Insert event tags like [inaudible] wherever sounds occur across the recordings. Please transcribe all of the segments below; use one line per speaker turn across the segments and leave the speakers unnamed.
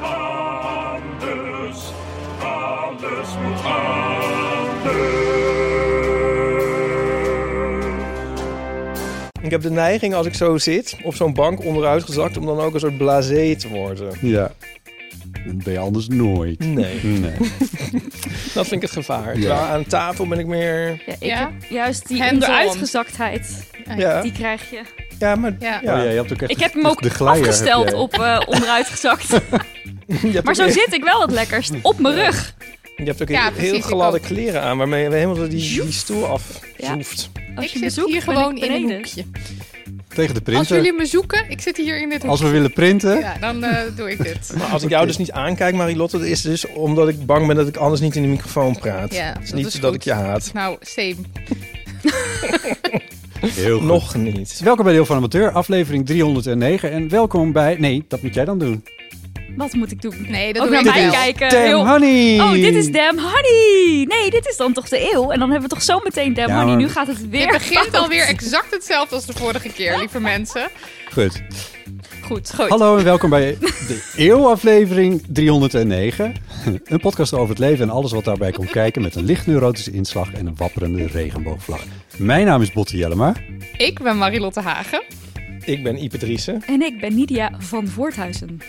anders. Alles moet anders.
Ik heb de neiging als ik zo zit, op zo'n bank onderuit gezakt, om dan ook een soort blasé te worden.
Ja. Dat ben je anders nooit. Hmm.
Nee,
Nee.
dat vind ik het gevaar.
Ja.
Terwijl aan tafel ben ik meer...
Ja, ik
Ja?
heb juist die
Hands
onderuitgezaktheid,
Ja,
die krijg je.
ja maar...
Ja.
Oh ja, je hebt ook echt
Ik heb hem ook
de glijer heb
afgesteld
jij.
op eh,
[laughs]
onderuitgezakt.
Je hebt
Maar
ook
zo
echt-
zit ik wel het lekkerst. Op mijn rug.
Je hebt ook
Ja,
heel,
precies,
heel
ik
gladde
ook.
kleren aan, waarmee je helemaal die, die stoel afzoeft.
Als
ik
je me
zit
zoekt,
hier
ben
gewoon
ik
in een
beneden.
hoekje.
tegen de
Als
printer.
jullie me zoeken, ik zit hier in dit
Als
hoekje.
we willen printen.
Ja, dan eh, doe ik
[laughs]
dit.
Maar als ik jou dus niet aankijk, Marilotte, dat is dus omdat ik bang ben dat ik anders niet in de microfoon praat.
Ja,
Het is
dat
niet
is
dat
goed.
ik je haat.
Nou, same.
Heel goed.
Nog niet.
Welkom bij Deel van Amateur, aflevering 309. En welkom bij... Nee, dat moet jij dan doen.
Wat moet ik doen?
Nee, dat
Ook
doe
naar
ik
mij
wel.
kijken.
Damn
heel-
honey!
Oh, dit is Damn Honey. Nee, dit is dan toch de eeuw. En dan hebben we toch zo meteen Damn
Ja,
Honey.
maar-
Nu gaat het weer
Dit begint
fout.
alweer exact hetzelfde als de vorige keer, lieve mensen.
Goed.
Goed, goed.
Hallo en welkom bij de eeuwaflevering 309. Een podcast over het leven en alles wat daarbij komt kijken... met een licht neurotische inslag en een wapperende regenboogvlag. Mijn naam is Botte Jellema.
Ik ben Marilotte Hagen.
Ik ben Ipe Driessen.
En ik ben Nidia van Voorthuizen.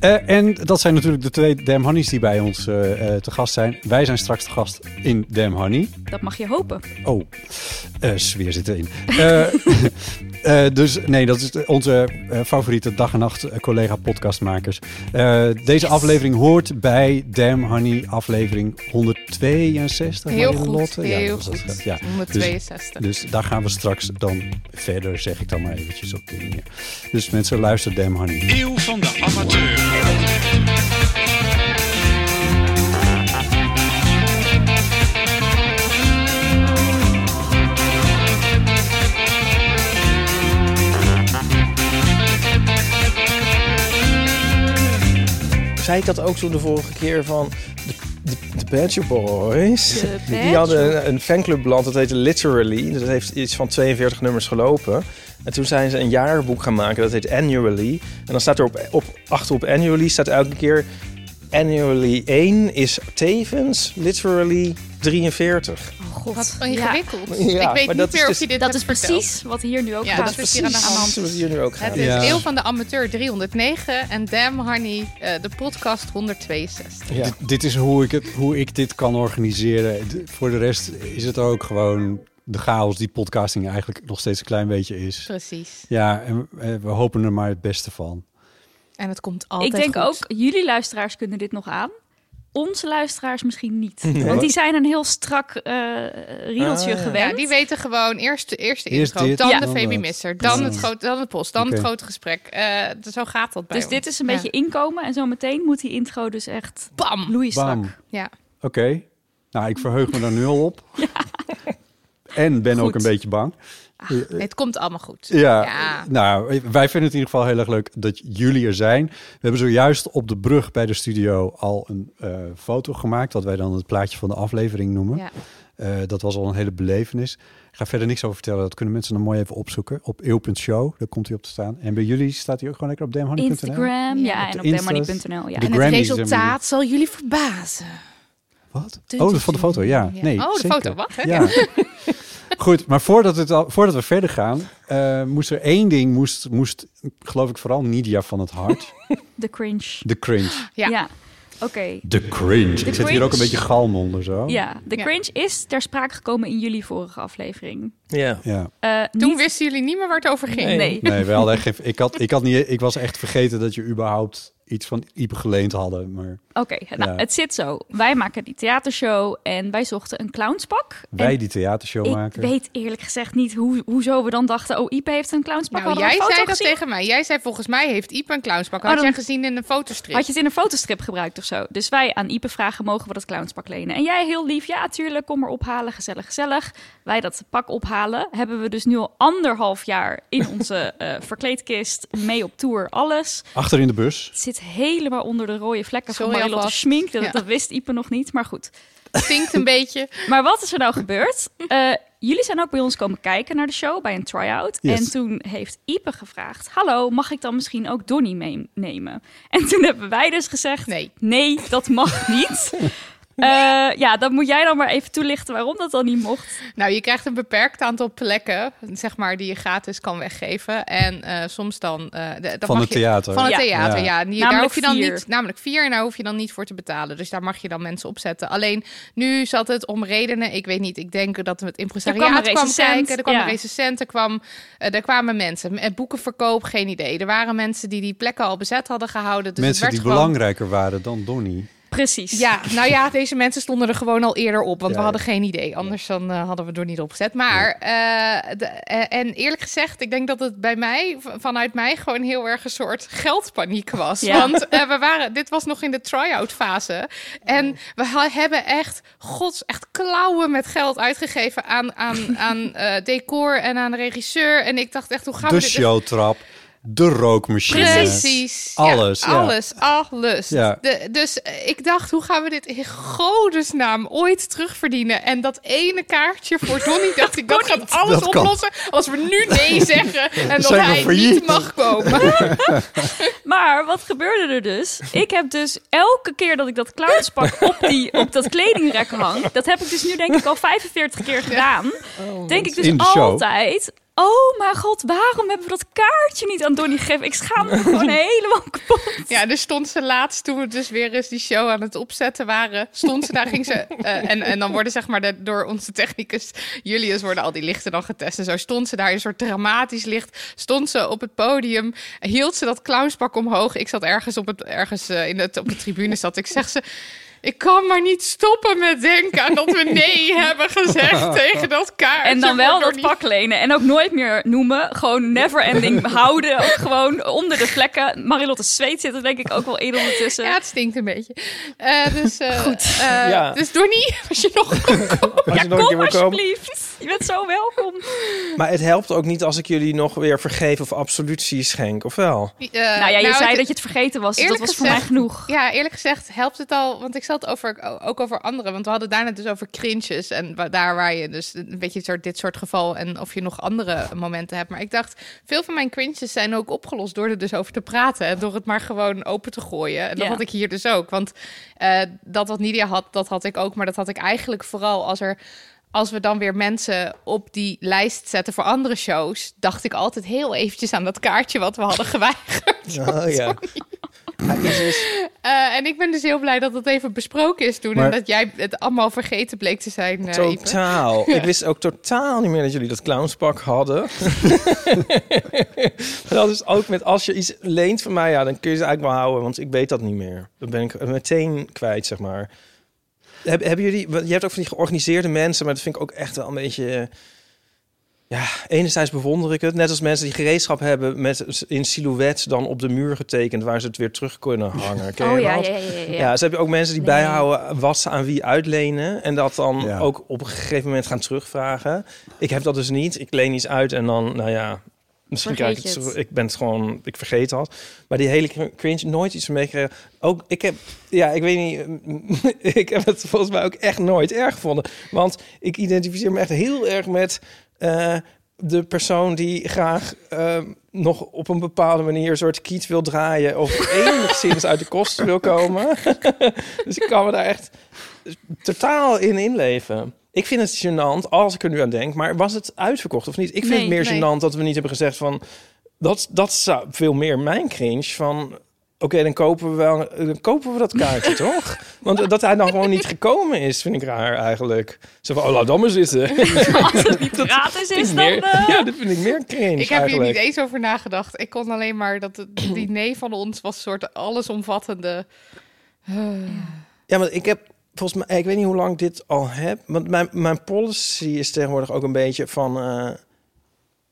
Eh, en dat zijn natuurlijk de twee Damn Honeys die bij ons eh, eh, te gast zijn. Wij zijn straks te gast in Damn Honey.
Dat mag je hopen.
Oh, eh sfeer zit
[laughs]
erin. Eh, eh, dus nee, dat is onze eh, favoriete dag en nacht eh, collega podcastmakers. Eh, deze aflevering hoort bij Damn Honey aflevering 162.
Heel goed,
Marilotte.
heel
dat was
goed.
dat, ja.
162.
Dus daar gaan we straks dan verder, zeg ik dan maar eventjes op de manier. Dus mensen, luister Damn Honey.
Eeuw van de amateur.
Zei ik dat ook zo de vorige keer van de, de, de Bad Shop Boys?
De
Die hadden een, een fanclubblad, dat heette Literally. Dus Dat heeft iets van 42 nummers gelopen. En toen zijn ze een jaarboek gaan maken, dat heet Annually. En dan staat er op, op, achter op Annually staat elke keer... Annually 1 is tevens Literally 43.
Oh, god.
Wat
Ja,
ingewikkeld.
Ja,
ik weet
maar dat
niet meer
is
dus-
of je dit
dat
hebt
is
verteld.
precies wat hier nu ook
Ja,
gaat.
dat is hier aan de hand.
Dat is hier nu ook
Het
gaan.
is
Ja.
Eeuw van de Amateur 309 en Damn Honey, eh, de podcast 162.
Ja.
Dit, dit is hoe ik, het, hoe ik dit kan organiseren. De- voor de rest is het ook gewoon de chaos die podcasting eigenlijk nog steeds een klein beetje is.
Precies.
Ja, en eh, we hopen er maar het beste van.
En het komt altijd
Ik denk
goed.
ook, jullie luisteraars kunnen dit nog aan. Onze luisteraars misschien niet. Want die zijn een heel strak eh riedeltje
Ah.
gewend.
Ja, die weten gewoon eerst de eerste
Eerst
intro,
dit,
dan
Ja.
de
dan
Femi-misser,
dat.
dan,
Ja.
het groot- dan het post, dan het
Oké.
grote gesprek. Eh, d- zo gaat dat bij
dus dit
ons.
is een
Ja.
beetje inkomen. En zo meteen moet die intro dus echt
Bam!
loeistrak.
Bam. Oké.
Ja.
Nou, ik verheug me daar nu al
[laughs]
op. En ben ook
Goed.
een beetje bang.
Nee, het komt allemaal goed.
Eh, Ja,
Ja.
nou, wij vinden het in ieder geval heel erg leuk dat jullie er zijn. We hebben zojuist op de brug bij de studio al een eh, foto gemaakt, wat wij dan het plaatje van de aflevering noemen.
Ja.
Eh, dat was al een hele belevenis. Ik ga verder niks over vertellen. Dat kunnen mensen dan mooi even opzoeken op eeuw.show. Daar komt hij op te staan. En bij jullie staat hij ook gewoon lekker op damhoney.nl.
Instagram, ja,
Op
en
de
op
Insta's.
demoney.nl. Ja.
De
En het
Grammys, zeg
resultaat zal jullie verbazen.
Wat? Oh, de- van de foto, ja.
Ja.
Nee,
Oh, de
zeker.
foto, wacht, hè?
Ja. [laughs] Goed, maar voordat, het al, voordat we verder gaan, eh, moest er één ding, moest, moest geloof ik vooral Nidia van het hart,
De cringe.
de cringe.
Ja.
Ja. Oké.
De cringe. Ik zit hier
cringe.
ook een beetje galm onder zo.
Ja, de
Ja.
cringe is ter sprake gekomen in jullie vorige aflevering.
Ja.
Ja.
Eh,
Toen
niet-
wisten jullie niet meer waar het over ging.
Nee.
Nee, we hadden echt geen- ik, had, ik, had niet, ik was echt vergeten dat je überhaupt iets van Ipe geleend hadden. Maar
Oké, nou,
Ja.
het zit zo. Wij maken die theatershow en wij zochten een clownspak.
wij
En
die theatershow
ik
maken.
weet eerlijk gezegd niet hoe, hoezo we dan dachten... oh, Ipe heeft een clownspak.
Nou,
Hadden we
jij
een foto
zei dat
gezien?
tegen mij. Jij zei volgens mij heeft Iep een clownspak. Had
Oh, dan-
jij gezien in een fotostrip?
Had je het in een fotostrip gebruikt of zo? Dus wij aan Ipe vragen, mogen we dat clownspak lenen? En jij heel lief, ja tuurlijk, kom maar ophalen, gezellig, gezellig. Wij dat pak ophalen, hebben we dus nu al anderhalf jaar in
[laughs]
onze eh, verkleedkist, mee op tour, alles.
Achter in de bus.
Het zit helemaal onder de rode vlekken
Sorry
van Marilotte
alvast.
Schmink, dat,
Ja.
dat wist Ipe nog niet, maar goed.
Stinkt een
[laughs]
beetje.
Maar wat is er nou gebeurd? Eh, jullie zijn ook bij ons komen kijken naar de show bij een try-out.
Yes.
En toen heeft Ipe gevraagd: Hallo, mag ik dan misschien ook Donnie meenemen? En toen hebben wij dus gezegd:
Nee.
dat mag niet. Eh, ja, dan moet jij dan maar even toelichten waarom dat dan niet mocht.
Nou, je krijgt een beperkt aantal plekken, zeg maar, die je gratis kan weggeven. En eh, soms dan... eh, de- dat
Van
mag
het
je-
theater.
Van het
Ja.
theater,
Ja.
ja. En Die, daar
Namelijk
hoef je dan
vier.
niet, namelijk vier en daar hoef je dan niet voor te betalen. Dus daar mag je dan mensen op zetten. Alleen nu zat het om redenen, ik weet niet, ik denk dat het
Er kwam
impresariaat kwam,
een recensent,
kijken. Er kwam
ja.
een recensent, er, kwam, eh, er kwamen mensen. Eh, Boekenverkoop, geen idee. Er waren mensen die die plekken al bezet hadden gehouden. Dus
Mensen
het
die
werd gewoon...
belangrijker waren dan Donnie.
Precies.
Ja, nou ja, deze mensen stonden er gewoon al eerder op, want
Ja,
we hadden
ja.
geen idee. Anders dan eh, hadden we door niet opgezet. Maar eh, de- eh, en eerlijk gezegd, ik denk dat het bij mij v- vanuit mij gewoon heel erg een soort geldpaniek was.
Ja.
Want eh, we waren, dit was nog in de try-out fase en we ha- hebben echt gods echt klauwen met geld uitgegeven aan aan aan eh, decor en aan de regisseur. En ik dacht echt, hoe gaan
De
we dit? dus-
showtrap. De rookmachine.
Precies. Ja,
Alles, ja.
alles, alles.
Ja.
De- dus eh, ik dacht, hoe gaan we dit in godesnaam ooit terugverdienen? En dat ene kaartje
[laughs]
voor Donnie, dacht ik, dat gaat alles
Dat kan.
oplossen als we nu nee
[laughs]
zeggen en dat
Zijn we
hij
failliet?
niet mag komen.
Maar wat gebeurde er dus? Ik heb dus elke keer dat ik dat [laughs] clownspak op, die, op dat kledingrek hang... dat heb ik dus nu denk ik al 45 keer gedaan. denk ik dus
In de show.
altijd... Oh mijn god, waarom hebben we dat kaartje niet aan Donnie gegeven? Ik schaam me [laughs] gewoon helemaal kapot.
[laughs] Ja, dus stond ze laatst, toen we dus weer eens die show aan het opzetten waren, stond ze daar, ging
[laughs]
ze, eh, en, en dan worden zeg maar de- door onze technicus Julius worden al die lichten dan getest en zo. Stond ze daar in een soort dramatisch licht, stond ze op het podium, hield ze dat clownspak omhoog. Ik zat ergens op het, ergens eh, in het, op de tribune zat ik, zeg ze... Ik kan maar niet stoppen met denken aan dat we
[laughs]
nee hebben gezegd tegen dat kaartje.
En dan
voor
wel dat
Donnie."
pak lenen. En ook nooit meer noemen. Gewoon never [laughs] ending houden. Ook gewoon onder de vlekken. Marilotte zweet zit er denk ik ook wel in ondertussen.
Ja, het stinkt een beetje. Eh, dus, Goed.
Ja.
Dus Donnie, [laughs] als je
[laughs]
nog eh,
Als je nog een keer
Kom
wil komen.
alsjeblieft. Je bent zo welkom.
Maar het helpt ook niet als ik jullie nog weer vergeef of absolutie schenk, of wel?
nou ja, je zei
dat
dat je het vergeten was. Dus dat
eerlijk
was voor mij
gezegd-
genoeg.
Ja, eerlijk gezegd helpt het al. Want ik zat over, ook over anderen. Want we hadden daarna dus over cringes. En wa- daar waar je dus een beetje soort, dit soort geval. En of je nog andere momenten hebt. Maar ik dacht, veel van mijn cringes zijn ook opgelost door er dus over te praten. En door het maar gewoon open te gooien. En dat
Ja.
had ik hier dus ook. Want eh, dat wat Nidia had, dat had ik ook. Maar dat had ik eigenlijk vooral als er... Als we dan weer mensen op die lijst zetten voor andere shows, dacht ik altijd heel eventjes aan dat kaartje wat we hadden [laughs] geweigerd.
Oh, ja.
Eh, en ik ben dus heel blij dat dat even besproken is toen.
Maar-
En dat jij het allemaal vergeten bleek te zijn. eh, Ipe.
Totaal. Ik wist ook totaal niet meer dat jullie dat clownspak hadden. dat is ook met als je iets leent van mij, ja, dan kun je ze eigenlijk wel houden, want ik weet dat niet meer. Dan ben ik meteen kwijt, zeg maar. Heb, hebben jullie, want je hebt ook van die georganiseerde mensen, maar dat vind ik ook echt wel een beetje. eh, Ja, enerzijds bewonder ik het. Net als mensen die gereedschap hebben met in silhouet dan op de muur getekend, waar ze het weer terug kunnen hangen. Ken je
oh ja,
dat?
ja, ja, ja, ja.
Ja, ze hebben ook mensen die
Nee.
bijhouden wat ze aan wie uitlenen. En dat dan
Ja.
ook op een gegeven moment gaan terugvragen. Ik heb dat dus niet. Ik leen iets uit en dan, nou ja, misschien krijg ik
Vergeet
het.
je het.
terug. Ik ben het gewoon, ik vergeet dat. Maar die hele cr- cringe, nooit iets meegekregen. Ook, ik heb, ja, ik weet niet, [laughs] ik heb het volgens mij ook echt nooit erg gevonden. Want ik identificeer me echt heel erg met. eh, de persoon die graag eh, nog op een bepaalde manier een soort kiet wil draaien of enigszins uit de kosten wil komen. [laughs] dus ik kan me daar echt totaal in inleven. Ik vind het gênant als ik er nu aan denk, maar was het uitverkocht of niet? Ik vind
Nee,
het meer
nee.
gênant dat we niet hebben gezegd van dat dat zou veel meer mijn cringe van dan kopen we wel, dan kopen we dat kaartje toch? Want dat hij dan gewoon niet gekomen is, vind ik raar eigenlijk. Zo van, oh, laat dan maar zitten.
[laughs] Als het niet gratis is, dan...
Meer- [laughs]
eh,
ja, dat vind ik meer cringe
Ik heb hier
eigenlijk.
niet eens over nagedacht. Ik kon alleen maar
[clears throat]
dat het diner van ons was een soort allesomvattende. eh,
Ja, want ik heb volgens mij, ik weet niet hoe lang ik dit al heb. Want mijn, mijn policy is tegenwoordig ook een beetje van. eh,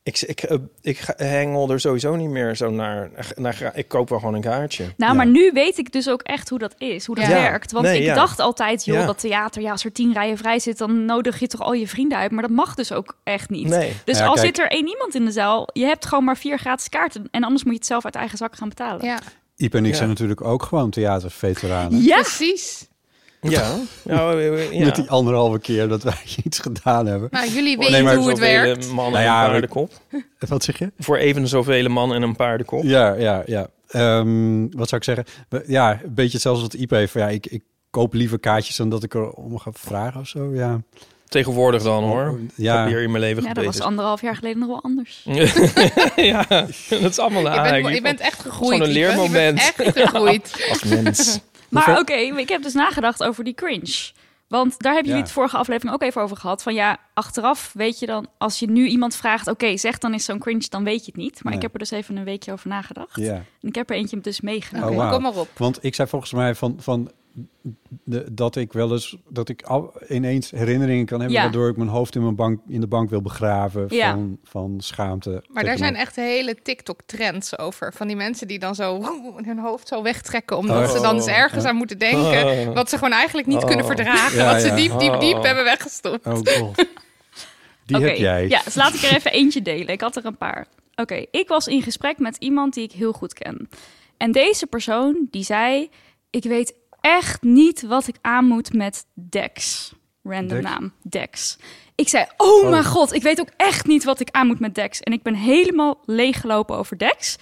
ik, ik, eh, ik ga- hengel er sowieso niet meer zo naar, naar. gra- Ik koop wel gewoon een kaartje.
Nou,
Ja.
maar nu weet ik dus ook echt hoe dat is, hoe dat
Ja.
werkt. Want
Nee,
ik
ja.
dacht altijd, joh,
Ja.
dat theater, ja, als er tien rijen vrij zit, dan nodig je toch al je vrienden uit. Maar dat mag dus ook echt niet.
Nee.
Dus
Ja,
al
kijk.
zit er één iemand in de zaal, je hebt gewoon maar vier gratis kaarten. En anders moet je het zelf uit eigen zak gaan betalen.
Ja,
Iep en ik
Ja.
zijn natuurlijk ook gewoon theaterveteranen.
Ja,
precies.
Ja. ja, ja, ja.
Met die anderhalve keer dat wij [laughs] iets gedaan hebben.
Nou, jullie
Voor
weten
maar
hoe het
zoveel
werkt.
mannen
Nou ja,
en een
we-
paardenkop.
Wat zeg je?
Voor even zoveel man en een paardenkop.
Ja, ja, ja. Ehm, wat zou ik zeggen? We- Ja, een beetje zelfs wat Iep heeft. van, Ja, ik, ik koop liever kaartjes dan dat ik er om ga vragen of zo. Ja.
Tegenwoordig dan hoor.
Ja.
Probeer in mijn leven
ja dat was
gebeten.
anderhalf jaar geleden nog wel anders.
[laughs] ja, [laughs] dat is allemaal
Je bent,
eigenlijk.
je bent echt gegroeid.
Gewoon een
Ipe. Je bent
leermoment.
echt gegroeid.
[laughs]
als mens.
Maar oké,
ver-
ik heb dus nagedacht over die cringe. Want daar hebben jullie
Ja.
het vorige aflevering ook even over gehad. Van ja, achteraf weet je dan, als je nu iemand vraagt, oké, zeg dan is zo'n cringe, dan weet je het niet. Maar
Nee.
ik heb er dus even een weekje over nagedacht.
Ja.
En ik heb er eentje dus meegenomen.
Oh, wauw.
Nou, Kom maar op.
Want ik zei volgens mij van, van de, dat ik wel eens dat ik al- ineens herinneringen kan hebben
Ja.
waardoor ik mijn hoofd in mijn bank in de bank wil begraven
Ja.
van, van schaamte.
Maar daar
tegenover-
zijn echt hele TikTok-trends over. Van die mensen die dan zo [laughs] hun hoofd zo wegtrekken. Omdat
Oh.
ze dan eens ergens aan moeten
[laughs]
denken. Wat ze gewoon eigenlijk niet kunnen verdragen.
Ja,
wat ze
ja.
diep, diep, diep hebben weggestopt.
Oh
[laughs]
god. Die
Oké,
heb jij.
Ja, dus laat ik er even eentje delen. Ik had er een paar. Oké, ik was in gesprek met iemand die ik heel goed ken. En deze persoon die zei: Ik weet echt niet wat ik aan moet met Dex. Random
Dex?
naam, Dex. Ik zei: Oh, mijn god, ik weet ook echt niet wat ik aan moet met Dex. En ik ben helemaal leeggelopen over Dex.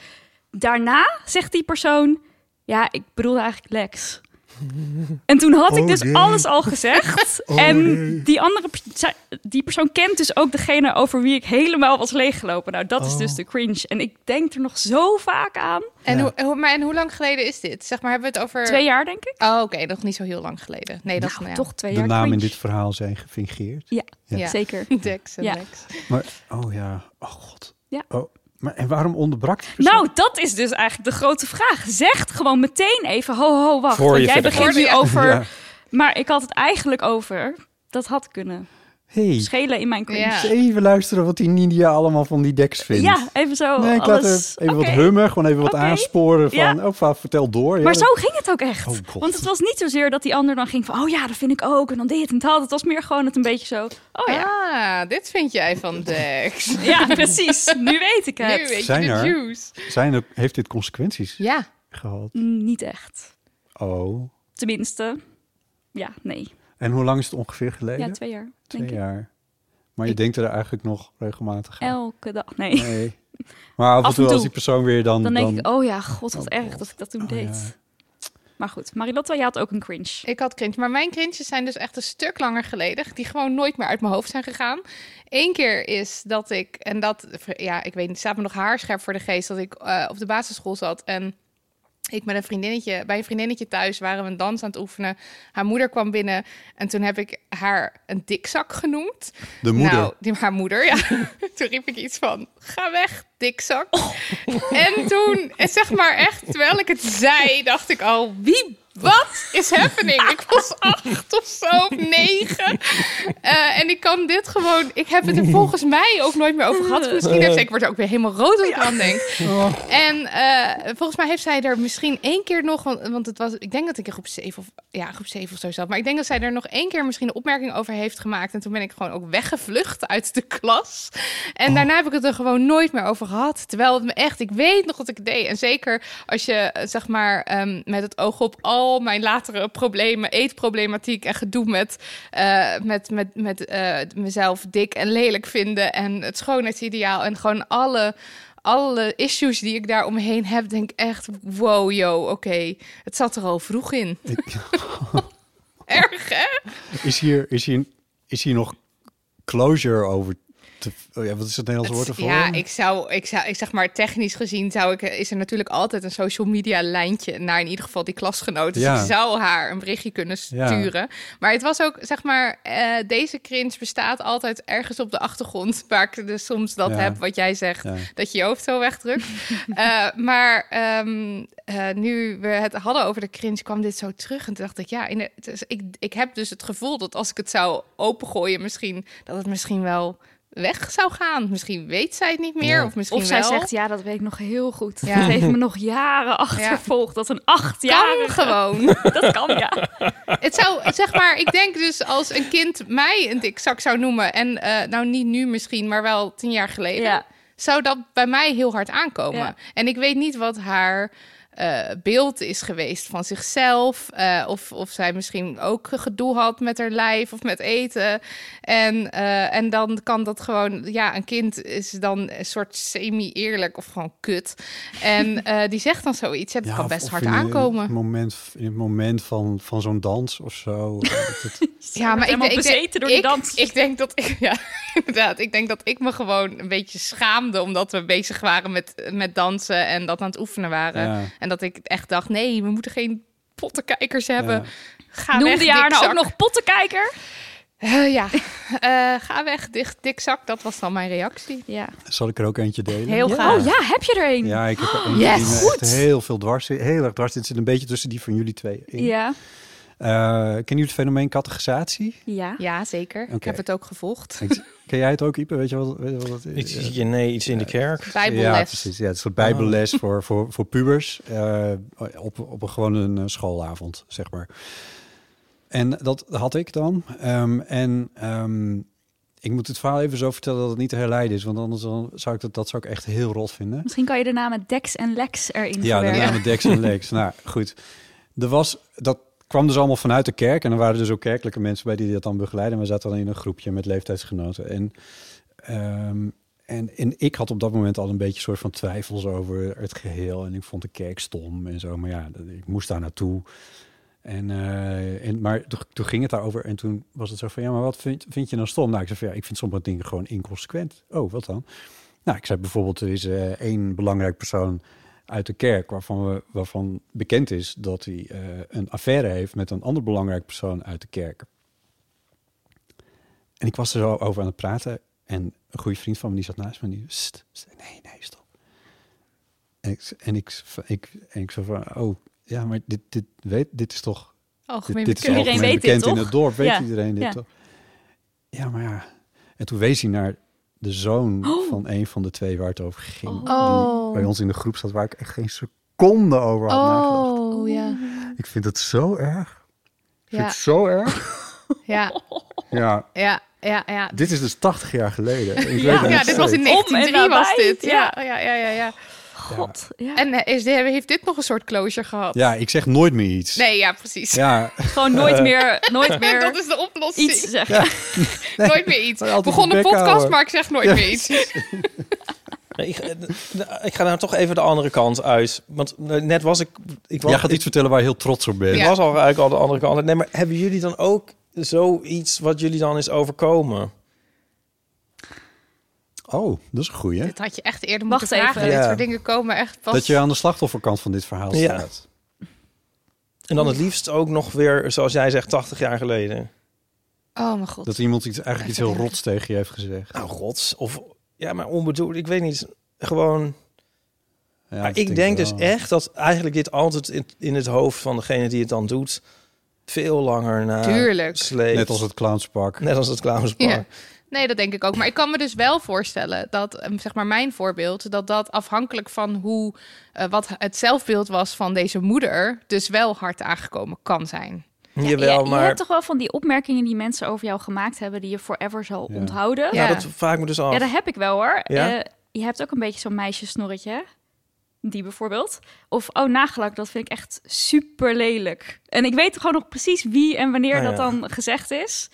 Daarna zegt die persoon: Ja, ik bedoelde eigenlijk Lex. [laughs] En toen had ik dus alles al
[laughs]
gezegd. en die andere pers- zij- die persoon kent dus ook degene over wie ik helemaal was leeggelopen. Nou, dat is dus
Oh.
de cringe. En ik denk er nog zo vaak aan.
En, hoe, hoe- maar en hoe lang geleden is dit? Zeg maar, hebben we het over...
Twee jaar, denk ik.
Oh, oké. nog niet zo heel lang geleden. Nee, dat
Nou,
is
toch twee
De
jaar
namen in
cringe.
dit verhaal zijn gefingeerd.
Ja,
Ja.
Ja.
[laughs]
zeker.
Dex en
Ja.
Lex.
Maar oh ja, oh god.
Ja.
Oh, maar en waarom onderbrak die persoon?
Nou, dat is dus eigenlijk de grote vraag. Zeg gewoon meteen even, ho, ho, wacht.
Voor je
want jij
verder
begint
gaat.
nu
Ja.
[laughs]
over...
Ja.
Maar ik had het eigenlijk over... Dat had kunnen
hey,
schelen in mijn cringe.
Ja.
Ja,
eens even luisteren wat die Nidia allemaal van die deks vindt.
even zo.
Nee, ik laat er
alles.
even wat
Oké.
hummen, gewoon even wat
Oké.
aansporen van,
Ja.
oh, va- vertel door. ja,
Maar
dat-
zo ging het ook echt.
Oh, God.
Want het was niet zozeer dat die ander dan ging van... oh ja, dat vind ik ook, en dan dit en dat. Het was meer gewoon het een beetje zo... oh ja,
Ah, dit vind jij van Dex.
[laughs]
ja precies, nu weet ik het.
Nu weet
Zijn
je de
er?
juice.
Zijn er, heeft dit consequenties
Ja.
gehad?
Mm, Niet echt.
Oh.
Tenminste, ja, nee.
En hoe lang is het ongeveer geleden?
Ja, twee jaar,
Twee
denk ik.
jaar. Maar je denkt er eigenlijk nog regelmatig aan.
Elke dag, nee.
Nee. Maar af en
Af en
toe als
toe.
die persoon weer dan...
[laughs] Dan denk ik, oh ja, god, wat
Oh,
erg
God.
dat ik dat toen
Oh,
deed. Maar goed, Marilotte, jij had ook een cringe.
Ik had cringe, maar mijn cringes zijn dus echt een stuk langer geleden, die gewoon nooit meer uit mijn hoofd zijn gegaan. Eén keer is dat ik, en dat, ja, ik weet niet, staat me nog haarscherp voor de geest, dat ik eh, op de basisschool zat en ik met een vriendinnetje, bij een vriendinnetje thuis waren we een dans aan het oefenen. Haar moeder kwam binnen en toen heb ik haar een dikzak genoemd.
De moeder.
Nou, die, haar moeder,
[laughs]
ja. toen riep ik iets van, ga weg, dikzak.
Oh.
En toen, eh, zeg maar echt, terwijl ik het zei, dacht ik al, wie, wat is happening? Ik was acht of zo, of negen. Eh, en ik kan dit gewoon, ik heb het er volgens mij ook nooit meer over
Eh.
gehad. Misschien heeft, ik word er ook weer helemaal rood als ik aan denk.
Oh.
En eh, volgens mij heeft zij er misschien één keer nog, want, want het was, ik denk dat ik in groep 7 of, ja, groep 7 of zo zat. Maar ik denk dat zij er nog één keer misschien een opmerking over heeft gemaakt. En toen ben ik gewoon ook weggevlucht uit de klas. En daarna heb ik het er gewoon nooit meer over gehad. Terwijl het me echt, ik weet nog wat ik deed. En zeker als je, eh, zeg maar, ehm, met het oog op al mijn latere problemen, eetproblematiek en gedoe met, eh, met, met, met eh, mezelf dik en lelijk vinden en het schoonheidsideaal en gewoon alle, alle issues die ik daar omheen heb, denk ik echt, wow, yo, oké, het zat er al vroeg in. Erg, hè?
Is hier, is, hier, is hier nog closure over te- oh ja, wat is het Nederlandse woord
Het-
ervoor?
Ja, ik zou, ik zou, ik zeg maar technisch gezien zou ik, is er natuurlijk altijd een social media lijntje naar in ieder geval die klasgenoten. Dus
Ja.
ik zou haar een berichtje kunnen
Ja.
sturen. Maar het was ook, zeg maar, eh, deze cringe bestaat altijd ergens op de achtergrond, waar ik dus soms dat
Ja.
heb wat jij zegt,
Ja.
dat je je hoofd zo
[laughs]
wegdrukt. Eh, maar ehm, eh, nu we het hadden over de cringe, kwam dit zo terug en toen dacht ik, ja, in de- het is- ik, ik heb dus het gevoel dat als ik het zou opengooien, misschien dat het misschien wel weg zou gaan. Misschien weet zij het niet meer.
Ja.
Of misschien
Of zij
wel.
zegt, ja, dat weet ik nog heel goed.
Ja.
Dat heeft me nog jaren achtervolgd. Dat een
kan
achtjarige...
gewoon.
[laughs] Dat kan, ja.
het zou, zeg maar, ik denk dus als een kind mij een dikzak zou noemen... en eh, nou niet nu misschien, maar wel tien jaar geleden...
Ja.
zou dat bij mij heel hard aankomen.
Ja.
En ik weet niet wat haar eh, beeld is geweest van zichzelf... eh, of, of zij misschien ook gedoe had met haar lijf of met eten. En, eh, en dan kan dat gewoon... Ja, een kind is dan een soort semi-eerlijk of gewoon kut. En
[laughs]
eh, die zegt dan zoiets. En dat
Ja,
kan
of-
best
of
hard
in het
aankomen.
moment, in het moment van, van zo'n dans of
[laughs]
zo. Dat het-
Ja, maar ik,
eh, helemaal
ik, denk-
bezeten door die
ik-
dans.
Ik denk dat ik, [laughs] ja, inderdaad. Ik denk dat ik me gewoon een beetje schaamde omdat we bezig waren met, met dansen en dat aan het oefenen waren.
Ja.
En dat ik echt dacht, nee, we moeten geen pottenkijkers hebben.
Ja.
Ga weg,
Noemde je haar nou
dikzak.
ook nog pottenkijker?
Eh, ja, [laughs] Eh, ga weg, dicht, dikzak. Dat was dan mijn reactie.
Ja.
Zal ik er ook eentje delen?
Heel graag.
Oh ja, heb je er een?
Ja, ik heb er eentje
yes.
die me
Goed.
echt heel veel dwars zit. Heel erg dwars zit. Het zit een beetje tussen die van jullie twee. in.
Ja.
Eh, kennen jullie het fenomeen categorisatie?
Ja.
Ja, zeker. Ik
Oké.
heb het ook gevolgd.
Ik- Ken jij het ook, Ipe? Weet je wat, weet je wat dat is?
Iets, je- nee, iets in de kerk.
Bijbelles.
Ja, precies. Ja, het is een bijbelles voor, voor, voor pubers eh, op, op een, gewoon een eh, schoolavond, zeg maar. En dat had ik dan. Ehm, en ehm, ik moet het verhaal even zo vertellen dat het niet te herleiden is, want anders dan zou ik dat, dat zou ik echt heel rot vinden.
Misschien kan je de namen Dex en Lex erin
Ja, de
verwerken.
namen Dex en Lex. nou, goed. Er was, dat kwam dus allemaal vanuit de kerk. En er waren dus ook kerkelijke mensen bij die dat dan begeleiden. En we zaten dan in een groepje met leeftijdsgenoten. En, ehm, en, en ik had op dat moment al een beetje soort van twijfels over het geheel. En ik vond de kerk stom en zo. Maar ja, dat- ik moest daar naartoe. En, eh, en, maar toen, toen ging het daarover en toen was het zo van... ja, maar wat vind, vind je nou stom? Nou, ik zei van ja, ik vind sommige dingen gewoon inconsequent. Oh, wat dan? Nou, ik zei bijvoorbeeld, er is eh, één belangrijk persoon uit de kerk... waarvan, we, waarvan bekend is dat hij eh, een affaire heeft... met een ander belangrijk persoon uit de kerk. En ik was er zo over aan het praten... en een goede vriend van me die zat naast me... en die, "Sst, sst, nee, nee, stop. En ik, en ik, ik, en ik zo van, oh, ja, maar dit, dit, weet, dit is toch...
Algemeen
dit, dit is
bekend.
Iedereen
algemeen
weet dit,
bekend in het
toch?
dorp, weet
Ja,
iedereen dit
ja.
toch? Ja, maar ja. En toen wees hij naar de zoon van een van de twee waar het over ging.
Oh.
Die bij ons in de groep zat, waar ik echt geen seconde over had nagedacht.
Oh, ja.
Ik vind het zo erg. Ik vind
Ja,
het zo erg.
ja,
Ja,
ja, ja, ja.
dit is dus 80 jaar geleden. Ik weet
Ja,
het nog
dit was in
steeds.
Om en
1903 was
nabij,
dit. Ja, ja, ja, ja. ja.
God. Ja.
En eh, is, heeft dit nog een soort closure gehad?
Ja, ik zeg nooit meer iets.
Nee, ja, precies. [laughs]
Ja,
Gewoon
Eh.
nooit meer, [laughs] nooit
En dat
meer
is de oplossing.
iets zeggen.
Nooit meer iets.
altijd
Begon
je
een
bek
podcast,
houden.
maar ik zeg nooit meer iets.
Nee, ik, eh, d- ik ga nou toch even de andere kant uit. Want eh, net was ik... ik was,
jij gaat
ik-
iets vertellen waar je heel trots op bent.
Ik
Ja.
was al eigenlijk al de andere kant. Nee, maar hebben jullie dan ook zoiets wat jullie dan is overkomen?
Oh, dat is een goeie.
Dit had je echt eerder
Wacht
moeten vragen.
even.
Dit
Ja.
soort dingen komen echt pas...
Dat je aan de slachtofferkant van dit verhaal
Ja.
staat.
En dan het liefst ook nog weer, zoals jij zegt, 80 jaar geleden.
Oh mijn god.
Dat iemand iets, eigenlijk iets heel rots tegen je heeft gezegd.
Nou, gods. Of, ja, maar onbedoeld. Ik weet niet. Gewoon...
Ja,
maar
dat
ik denk dus
wel.
echt dat eigenlijk dit altijd in, in het hoofd van degene die het dan doet... veel langer na
Tuurlijk.
sleept.
eh, Net als het clownspak.
Net als het clownspark.
Ja. Nee, dat denk ik ook. Maar ik kan me dus wel voorstellen dat, ehm, zeg maar, mijn voorbeeld, dat dat afhankelijk van hoe, eh, wat het zelfbeeld was van deze moeder, dus wel hard aangekomen kan zijn.
Jawel,
je, je
maar...
hebt toch wel van die opmerkingen die mensen over jou gemaakt hebben... die je forever zal
Ja.
onthouden.
Ja.
ja, dat vraag ik me dus af.
Ja, dat heb ik wel hoor.
Ja?
Eh, je hebt ook een beetje zo'n meisjesnorretje. hè? Die bijvoorbeeld. Of, oh, nagelak, dat vind ik echt super lelijk. En ik weet gewoon nog precies wie en wanneer
Ah,
dat
ja.
dan gezegd is.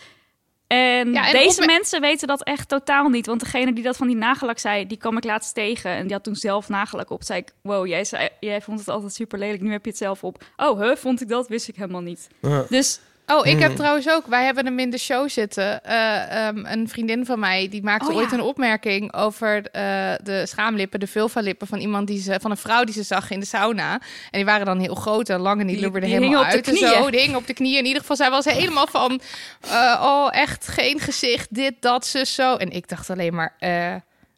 En,
Ja, en
deze
opme-
mensen weten dat echt totaal niet. Want degene die dat van die nagelak zei, die kwam ik laatst tegen. En die had toen zelf nagelak op. Zei ik, wow, jij, zei, jij vond het altijd super lelijk. Nu heb je het zelf op. Oh, huh, vond ik dat? Wist ik helemaal niet.
Ja.
Dus
Oh, ik heb trouwens ook. Wij hebben hem in de show zitten. Eh, ehm, een vriendin van mij die maakte
Oh, ja.
ooit een opmerking over eh, de schaamlippen, de vulva-lippen van iemand die ze, van een vrouw die ze zag in de sauna. En die waren dan heel groot en lang en die,
Die-
lubberden
die
helemaal
hingen op
uit
de
en zo.
knieën.
Die hingen op de knieën. In ieder geval, zij was helemaal van, eh, oh echt geen gezicht, dit, dat, zus, zo. En ik dacht alleen maar, eh,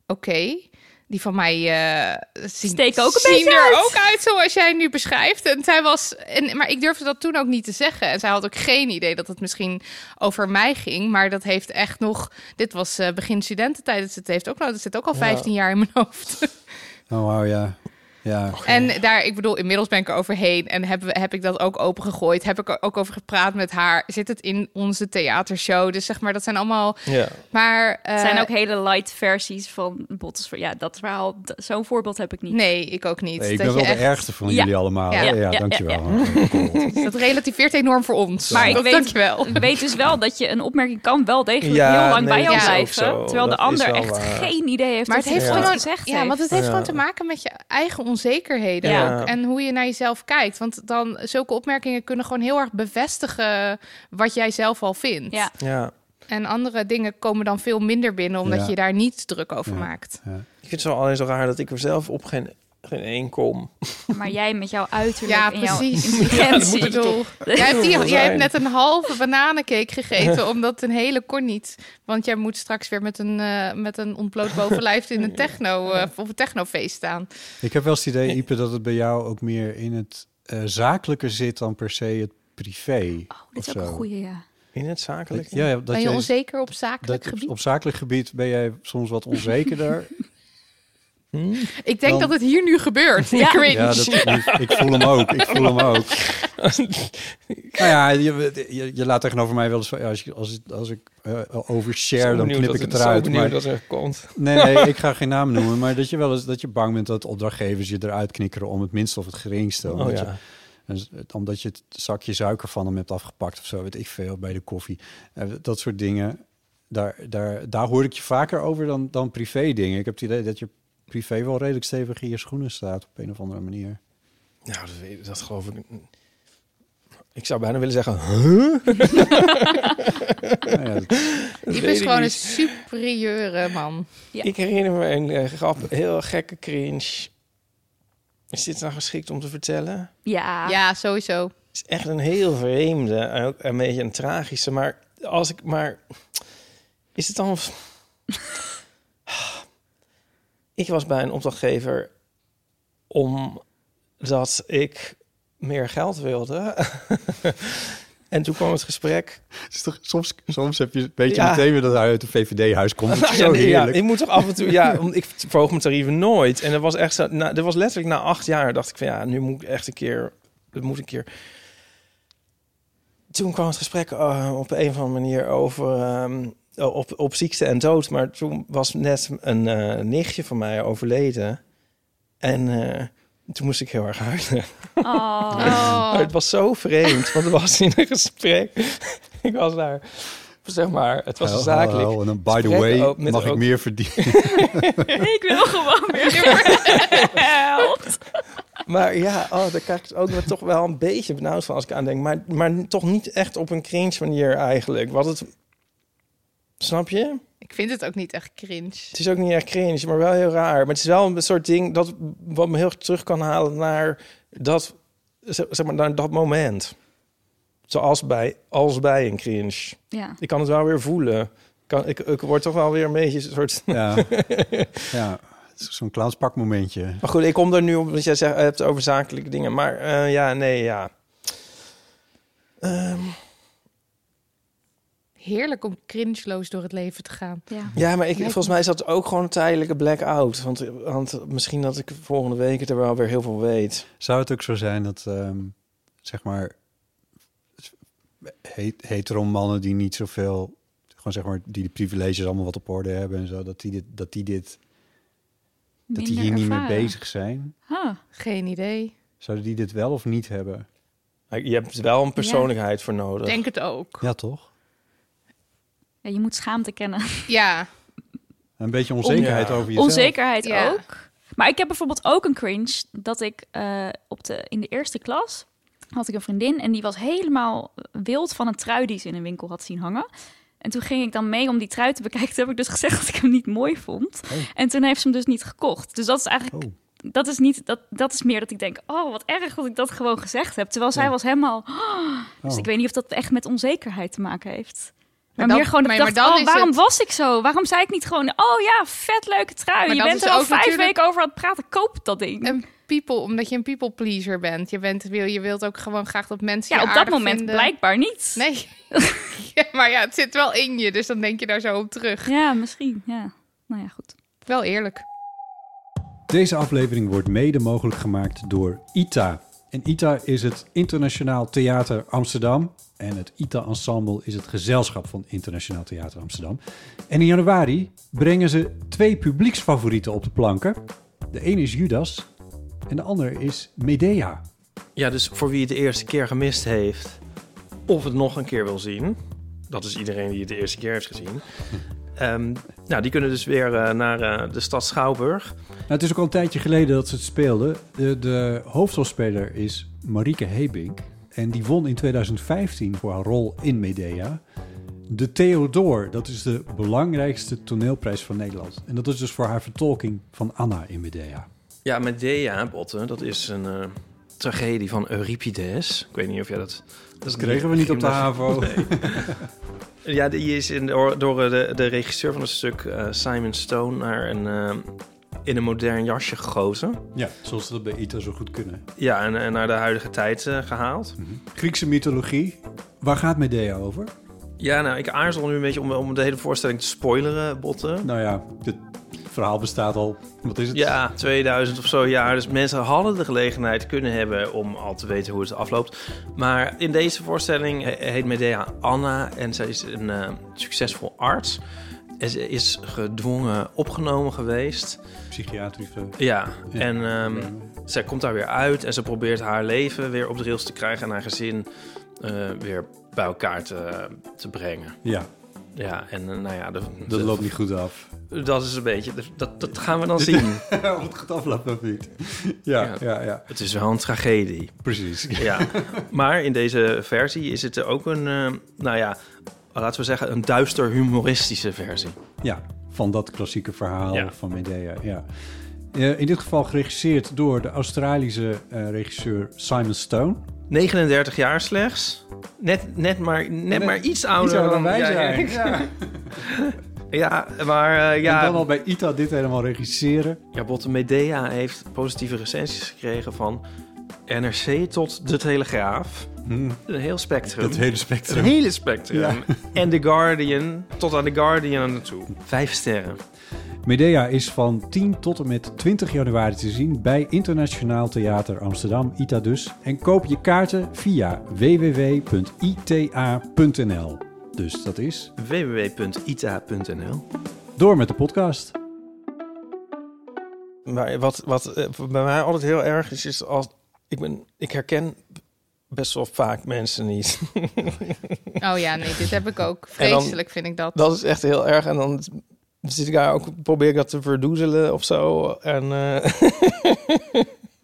oké. Die van mij eh, zien,
Steken ook een
zien
beetje
er
uit.
ook uit zoals jij nu beschrijft. En zij was, en, maar ik durfde dat toen ook niet te zeggen. En zij had ook geen idee dat het misschien over mij ging. Maar dat heeft echt nog, dit was eh, begin studententijd. Dus het heeft ook, nou, dat zit ook al 15 jaar in mijn hoofd.
Oh, wauw, ja.
Oh,
Ja.
En daar, ik bedoel, inmiddels ben ik er overheen en heb, heb ik dat ook opengegooid. Heb ik er ook over gepraat met haar. Zit het in onze theatershow? Dus zeg maar, dat zijn allemaal.
Ja.
Maar. eh,
Het zijn ook hele light versies van bottles. Ja, dat verhaal, d- zo'n voorbeeld heb ik niet.
Nee, ik ook niet.
Nee, ik
Dat
ben wel
je
de
echt-
ergste van
Ja.
jullie allemaal.
Ja.
Ja, ja,
Ja, ja,
dankjewel.
Dus Dat relativeert enorm voor ons.
Maar ik
Dat
weet-
dankjewel.
Ik weet dus wel dat je een opmerking kan wel degelijk
Ja,
heel lang
nee,
bij jou
dat is ook
blijven.
zo.
Terwijl de
Dat is
ander
wel
echt
waar.
geen idee heeft
Maar het
wat hij
heeft
Ja.
gewoon,
ooit gezegd
ja, want
heeft.
het heeft
Ja.
gewoon te maken met je eigen onzekerheden
Ja.
ook. En hoe je naar jezelf kijkt. Want dan zulke opmerkingen kunnen gewoon heel erg bevestigen wat jij zelf al vindt.
Ja.
Ja.
En andere dingen komen dan veel minder binnen, omdat
Ja.
je daar niet druk over maakt.
Ik vind het zo alleen zo raar dat ik er zelf op geen, geen één kom.
Maar jij met jouw uiterlijk
Ja,
en jouw
precies.
[laughs] intelligentie.
Ik bedoel, jij, hebt
[laughs]
die-
wel
jij
zijn.
hebt net een halve bananencake
[laughs]
gegeten, omdat een hele kon niet. Want jij moet straks weer met een, eh, met een ontbloot
[laughs]
bovenlijf in een techno, eh, op een technofeest staan.
Ik heb wel eens het idee, Ipe, dat het bij jou ook meer in het eh, zakelijke zit dan per se het privé.
Oh, dit is
of
ook een
zo.
goeie, ja.
In het zakelijk.
Ja, ja, dat
Ben je
jij-
onzeker op zakelijk
dat op-
gebied?
op zakelijk gebied ben jij soms wat
[laughs]
onzekerder.
Hm? [laughs]
Ik denk
dan-
dat het hier nu gebeurt. Ja,
ja, dat, ik, ik voel hem ook. Ik voel hem ook. nou ja, je, je, je laat tegenover mij wel eens... van, ja, Als, je, als, ik- als ik eh, overshare, dan knip ik het eruit. maar-
dat er komt. [laughs]
Nee, nee, ik ga geen naam noemen, maar dat je wel eens dat je bang bent dat opdrachtgevers je eruit knikkeren om het minste of het geringste. Omdat,
Oh ja.
je, en z- omdat je het zakje suiker van hem hebt afgepakt of zo, weet ik veel, bij de koffie. Eh, dat soort dingen, daar, daar, daar hoor ik je vaker over dan, dan privé dingen. Ik heb het idee dat je privé wel redelijk stevig in je schoenen staat op een of andere manier.
Nou, dat, weet- dat geloof ik. Ik zou bijna willen zeggen, [laughs] huh?
Nou ja, dat-
Dat
Iep
weet
is
ik
gewoon een
niet.
superieure man.
Ja.
Ik herinner me een eh, grap, heel gekke cringe. Is dit nou geschikt om te vertellen?
Ja.
[laughs] Ja,
[laughs]
sowieso.
Het is echt een heel vreemde en ook een beetje een tragische. Maar als ik maar. Is het dan. [sighs] ik was bij een opdrachtgever omdat ik meer geld wilde. [laughs] en toen kwam het gesprek.
[laughs] het is toch- soms, soms heb je, weet je
Ja.
meteen weer dat hij uit een VVD-huis komt. Dat
Nou [laughs]
is
Ja,
zo
nee, ja,
heerlijk.
ik moet toch af en toe.
[laughs]
Ja, want ik verhoog mijn tarieven nooit. En dat was echt zo. Na, dat was letterlijk na acht jaar. Dacht ik van ja, nu moet ik echt een keer. Het moet een keer. Toen kwam het gesprek eh, op een of andere manier over. ehm, op, op ziekte en dood. Maar toen was net een eh, nichtje van mij overleden. En eh, toen moest ik heel erg huilen.
Oh.
Maar het was zo vreemd. Want het was in een gesprek. [laughs] ik was daar. Zeg maar, het was een
Hallo, hallo,
zakelijk.
En dan, by the
gesprek
way,
ook met
mag ik
ook-
meer
[laughs]
verdienen?
Ik wil gewoon [laughs] weer geld.
Maar ja, oh, daar krijg ik het ook wel toch wel een beetje benauwd van als ik aan denk. Maar, maar toch niet echt op een cringe manier eigenlijk. Wat het... Snap je?
Ik vind het ook niet echt cringe.
Het is ook niet echt cringe, maar wel heel raar. Maar het is wel een soort ding dat, wat me heel erg terug kan halen naar dat, zeg zeg maar, naar dat moment. Zoals bij, als bij een cringe.
Ja.
Ik kan het wel weer voelen. Ik Kan, ik, ik word toch wel weer een beetje een soort...
Ja, ja. het is zo'n clownspakmomentje.
Maar goed, ik kom er nu op, want jij zegt, hebt over zakelijke dingen. Maar eh, ja, nee, ja. Ehm,
Heerlijk om cringeloos door het leven te gaan.
ja.
Ja, maar ik, volgens mij is dat ook gewoon een tijdelijke blackout. Want, want misschien dat ik volgende week het er wel weer heel veel weet.
Zou het ook zo zijn dat, ehm, zeg maar, het- hetero mannen die niet zoveel, gewoon zeg maar, die de privileges allemaal wat op orde hebben en zo, dat die dit, dat die dit, dat die
Minder
hier niet mee
ervaren.
bezig zijn?
Huh.
Geen idee.
Zouden die dit wel of niet hebben?
Je hebt wel een persoonlijkheid voor nodig.
Denk het ook.
Ja, toch?
Ja, je moet schaamte kennen.
Ja.
Een beetje onzekerheid
Ja.
over jezelf.
Onzekerheid
Ja.
ook. Maar ik heb bijvoorbeeld ook een cringe dat ik eh, op de, in de eerste klas had ik een vriendin en die was helemaal wild van een trui die ze in een winkel had zien hangen. En toen ging ik dan mee om die trui te bekijken. Toen heb ik dus gezegd dat ik hem niet mooi vond. En toen heeft ze hem dus niet gekocht. Dus dat is eigenlijk.
Oh.
Dat is, niet, dat, dat is meer dat ik denk, oh, wat erg dat ik dat gewoon gezegd heb. Terwijl zij was helemaal... "Oh." Dus
Oh.
ik weet niet of dat echt met onzekerheid te maken heeft. Maar,
dan-
meer gewoon dat ik
nee,
dacht,
maar dan
oh,
is
waarom
het-
was ik zo? Waarom zei ik niet gewoon, oh ja, vet leuke trui.
Maar
je
dat
bent
is
er al
ook
vijf
natuurlijk-
weken over aan het praten. Koop dat ding.
Een people, omdat je een people pleaser bent. Je, bent wil, je wilt ook gewoon graag dat mensen
ja,
je
op dat
aardig
moment
vinden.
blijkbaar niet.
Nee. [laughs] ja, maar ja, het zit wel in je, dus dan denk je daar zo op terug.
Ja, misschien. Ja. Nou ja, goed.
Wel eerlijk.
Deze aflevering wordt mede mogelijk gemaakt door ITA. En ITA is het Internationaal Theater Amsterdam. En het ITA Ensemble is het gezelschap van Internationaal Theater Amsterdam. En in januari brengen ze twee publieksfavorieten op de planken. De een is Judas en de ander is Medea.
Ja, dus voor wie het de eerste keer gemist heeft of het nog een keer wil zien, dat is iedereen die het de eerste keer heeft gezien. Ehm, nou, die kunnen dus weer eh, naar eh, de stad Schouwburg.
Nou, het is ook al een tijdje geleden dat ze het speelden. De, de hoofdrolspeler is Marieke Hebink. En die won in 2015 voor haar rol in Medea. De Theodor, dat is de belangrijkste toneelprijs van Nederland. En dat is dus voor haar vertolking van Anna in Medea.
Ja, Medea, Botten, dat is een eh, tragedie van Euripides. Ik weet niet of jij dat...
Dat kregen we niet op de
gymnasium-
HAVO.
Ja, die is in, door, door eh, de, de regisseur van het stuk, eh, Simon Stone, naar een, eh, in een modern jasje gegoten.
[laughs] Ja, zoals ze dat bij ITA zo goed kunnen.
Ja, en, en naar de huidige tijd eh, gehaald.
Mhm. Griekse mythologie. Waar gaat Medea over?
Ja, nou, ik aarzel nu een beetje om, om de hele voorstelling te spoileren, Botten.
Nou ja, het verhaal bestaat al, wat is het?
Ja, 2000 of zo jaar. Dus mensen hadden de gelegenheid kunnen hebben om al te weten hoe het afloopt. Maar in deze voorstelling he- heet Medea Anna en zij is een eh, succesvol arts. En ze is gedwongen opgenomen geweest.
Psychiatrische...
Ja,
Ja.
en ehm, zij komt daar weer uit en ze probeert haar leven weer op de rails te krijgen en haar gezin eh, weer bij elkaar te, te brengen.
Ja,
Ja, en eh, nou ja, de-
dat
de-
loopt niet goed af.
dat is een beetje, dat, dat gaan we dan
[laughs]
zien.
of het goed afloopt of niet. Ja,
Ja.
ja, ja,
Het is wel een tragedie.
precies.
Ja, maar in deze versie is het ook een, eh, nou ja, laten we zeggen, een duister humoristische versie.
[laughs] Ja, van dat klassieke verhaal
Ja.
van Medea. Ja. Eh, in dit geval geregisseerd door de Australische eh, regisseur Simon Stone.
39 jaar slechts. Net, net, maar, net, maar iets ouder,
eh, Iets
dan,
wij
jij, [laughs]
zijn.
Henk.
[laughs] Ja.
Ja, maar eh,
En
ja,
dan al bij ITA dit helemaal regisseren.
ja, Botte Medea heeft positieve recensies gekregen van NRC tot De Telegraaf. Een heel spectrum.
Het hele
Een
spectrum.
Hmm. hele spectrum. En The Guardian, tot aan The Guardian aan toe. Vijf sterren.
Medea is van 10 tot en met 20 januari te zien bij Internationaal Theater Amsterdam, ITA dus. En koop je kaarten via www.ita.nl. Dus dat is
www.ita.nl
door met de podcast.
Maar wat, wat eh, bij mij altijd heel erg is, is als ik ben, ik herken best wel vaak mensen niet. [laughs]
Oh ja, nee, dit heb ik ook.
En dan-
Vreselijk vind ik dat.
Dat is echt heel erg. En dan zit ik daar ook, probeer ik dat te verdoezelen of zo. En eh,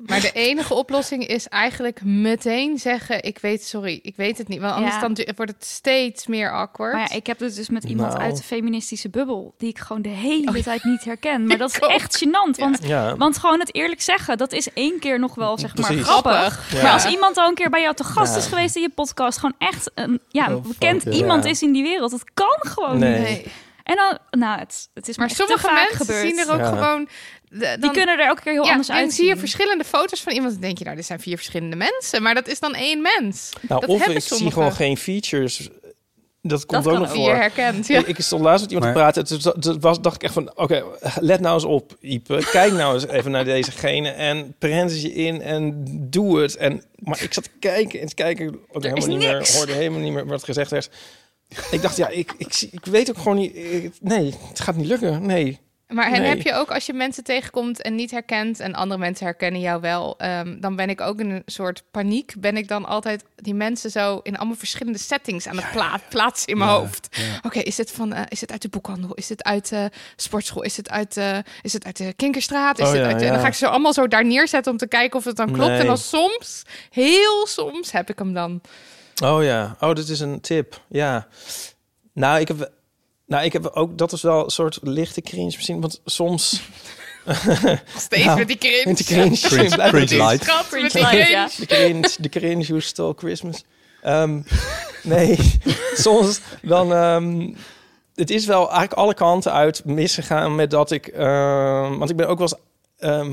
Maar de enige oplossing is eigenlijk meteen zeggen: Ik weet, sorry, ik weet het niet. Want anders
Ja.
dan du- wordt het steeds meer awkward.
Maar ja, ik heb het dus met iemand
Nou. Oh,
uit de feministische bubbel, die ik gewoon de hele tijd niet
[laughs]
herken. Maar dat is echt gênant, want...
ja.
Want gewoon het eerlijk zeggen, dat is één keer nog wel zeg maar
Precies.
grappig.
Ja.
Maar als iemand al een keer bij jou te gast
Ja.
is geweest in je podcast, gewoon echt een
Oh,
ja,
fuck,
bekend
ja.
iemand
Ja.
is in die wereld, dat kan gewoon
Nee.
niet.
Nee.
En dan, nou, het, het is me
Maar
echt te
sommige
vaak
mensen
gebeurd.
zien er ook
Ja.
gewoon. de-
Die
dan-
kunnen er elke keer heel
ja,
anders
en zie je
uitzien.
verschillende foto's van iemand. Dan denk je, nou, dit zijn vier verschillende mensen. Maar dat is dan één mens.
nou,
dat
of
hebben
ik zie
sommigen.
gewoon geen features. eh, Dat komt
Dat
ook
kan
nog
Die je
voor.
herkent. Ja.
Ik, ik stond laatst met iemand
Maar-
te praten. Toen toen was, dacht ik echt van, oké, let nou eens op, Ipe. Kijk nou eens even naar dezegene en prent je in en doe het. En, maar ik zat te kijken en te kijken. Ook helemaal niet meer,
niks.
hoorde helemaal niet meer wat gezegd werd. Ik dacht, ja, ik, ik, zie- ik weet ook gewoon niet. ik- nee, het gaat niet lukken. Nee.
Maar en
Nee.
heb je ook als je mensen tegenkomt en niet herkent en andere mensen herkennen jou wel, ehm, dan ben ik ook in een soort paniek. Ben ik dan altijd die mensen zo in allemaal verschillende settings aan het pla- plaatsen in mijn hoofd. Oké, is dit van eh, is dit uit de boekhandel? Is dit uit de sportschool? Is dit uit de is dit uit de Kinkerstraat? Is
Oh,
dit
ja,
uit de- En
ja.
dan ga ik ze allemaal zo daar neerzetten om te kijken of het dan klopt.
Nee.
En dan soms, heel soms, heb ik hem dan.
Oh ja, oh, dit is een tip. Ja. Nou, ik heb, nou, ik heb ook, dat is wel een soort lichte cringe misschien, want soms...
Steeds
Nou,
[laughs] met die cringe.
Met de cringe.
Cringe-
Blijf
cringe
met die-
light.
Schat, met die
Cringe light,
cringe.
ja.
De cringe, de cringe, you stole Christmas. Ehm, nee, [laughs] soms dan... ehm, het is wel eigenlijk alle kanten uit misgegaan met dat ik... ehm, want ik ben ook wel eens ehm,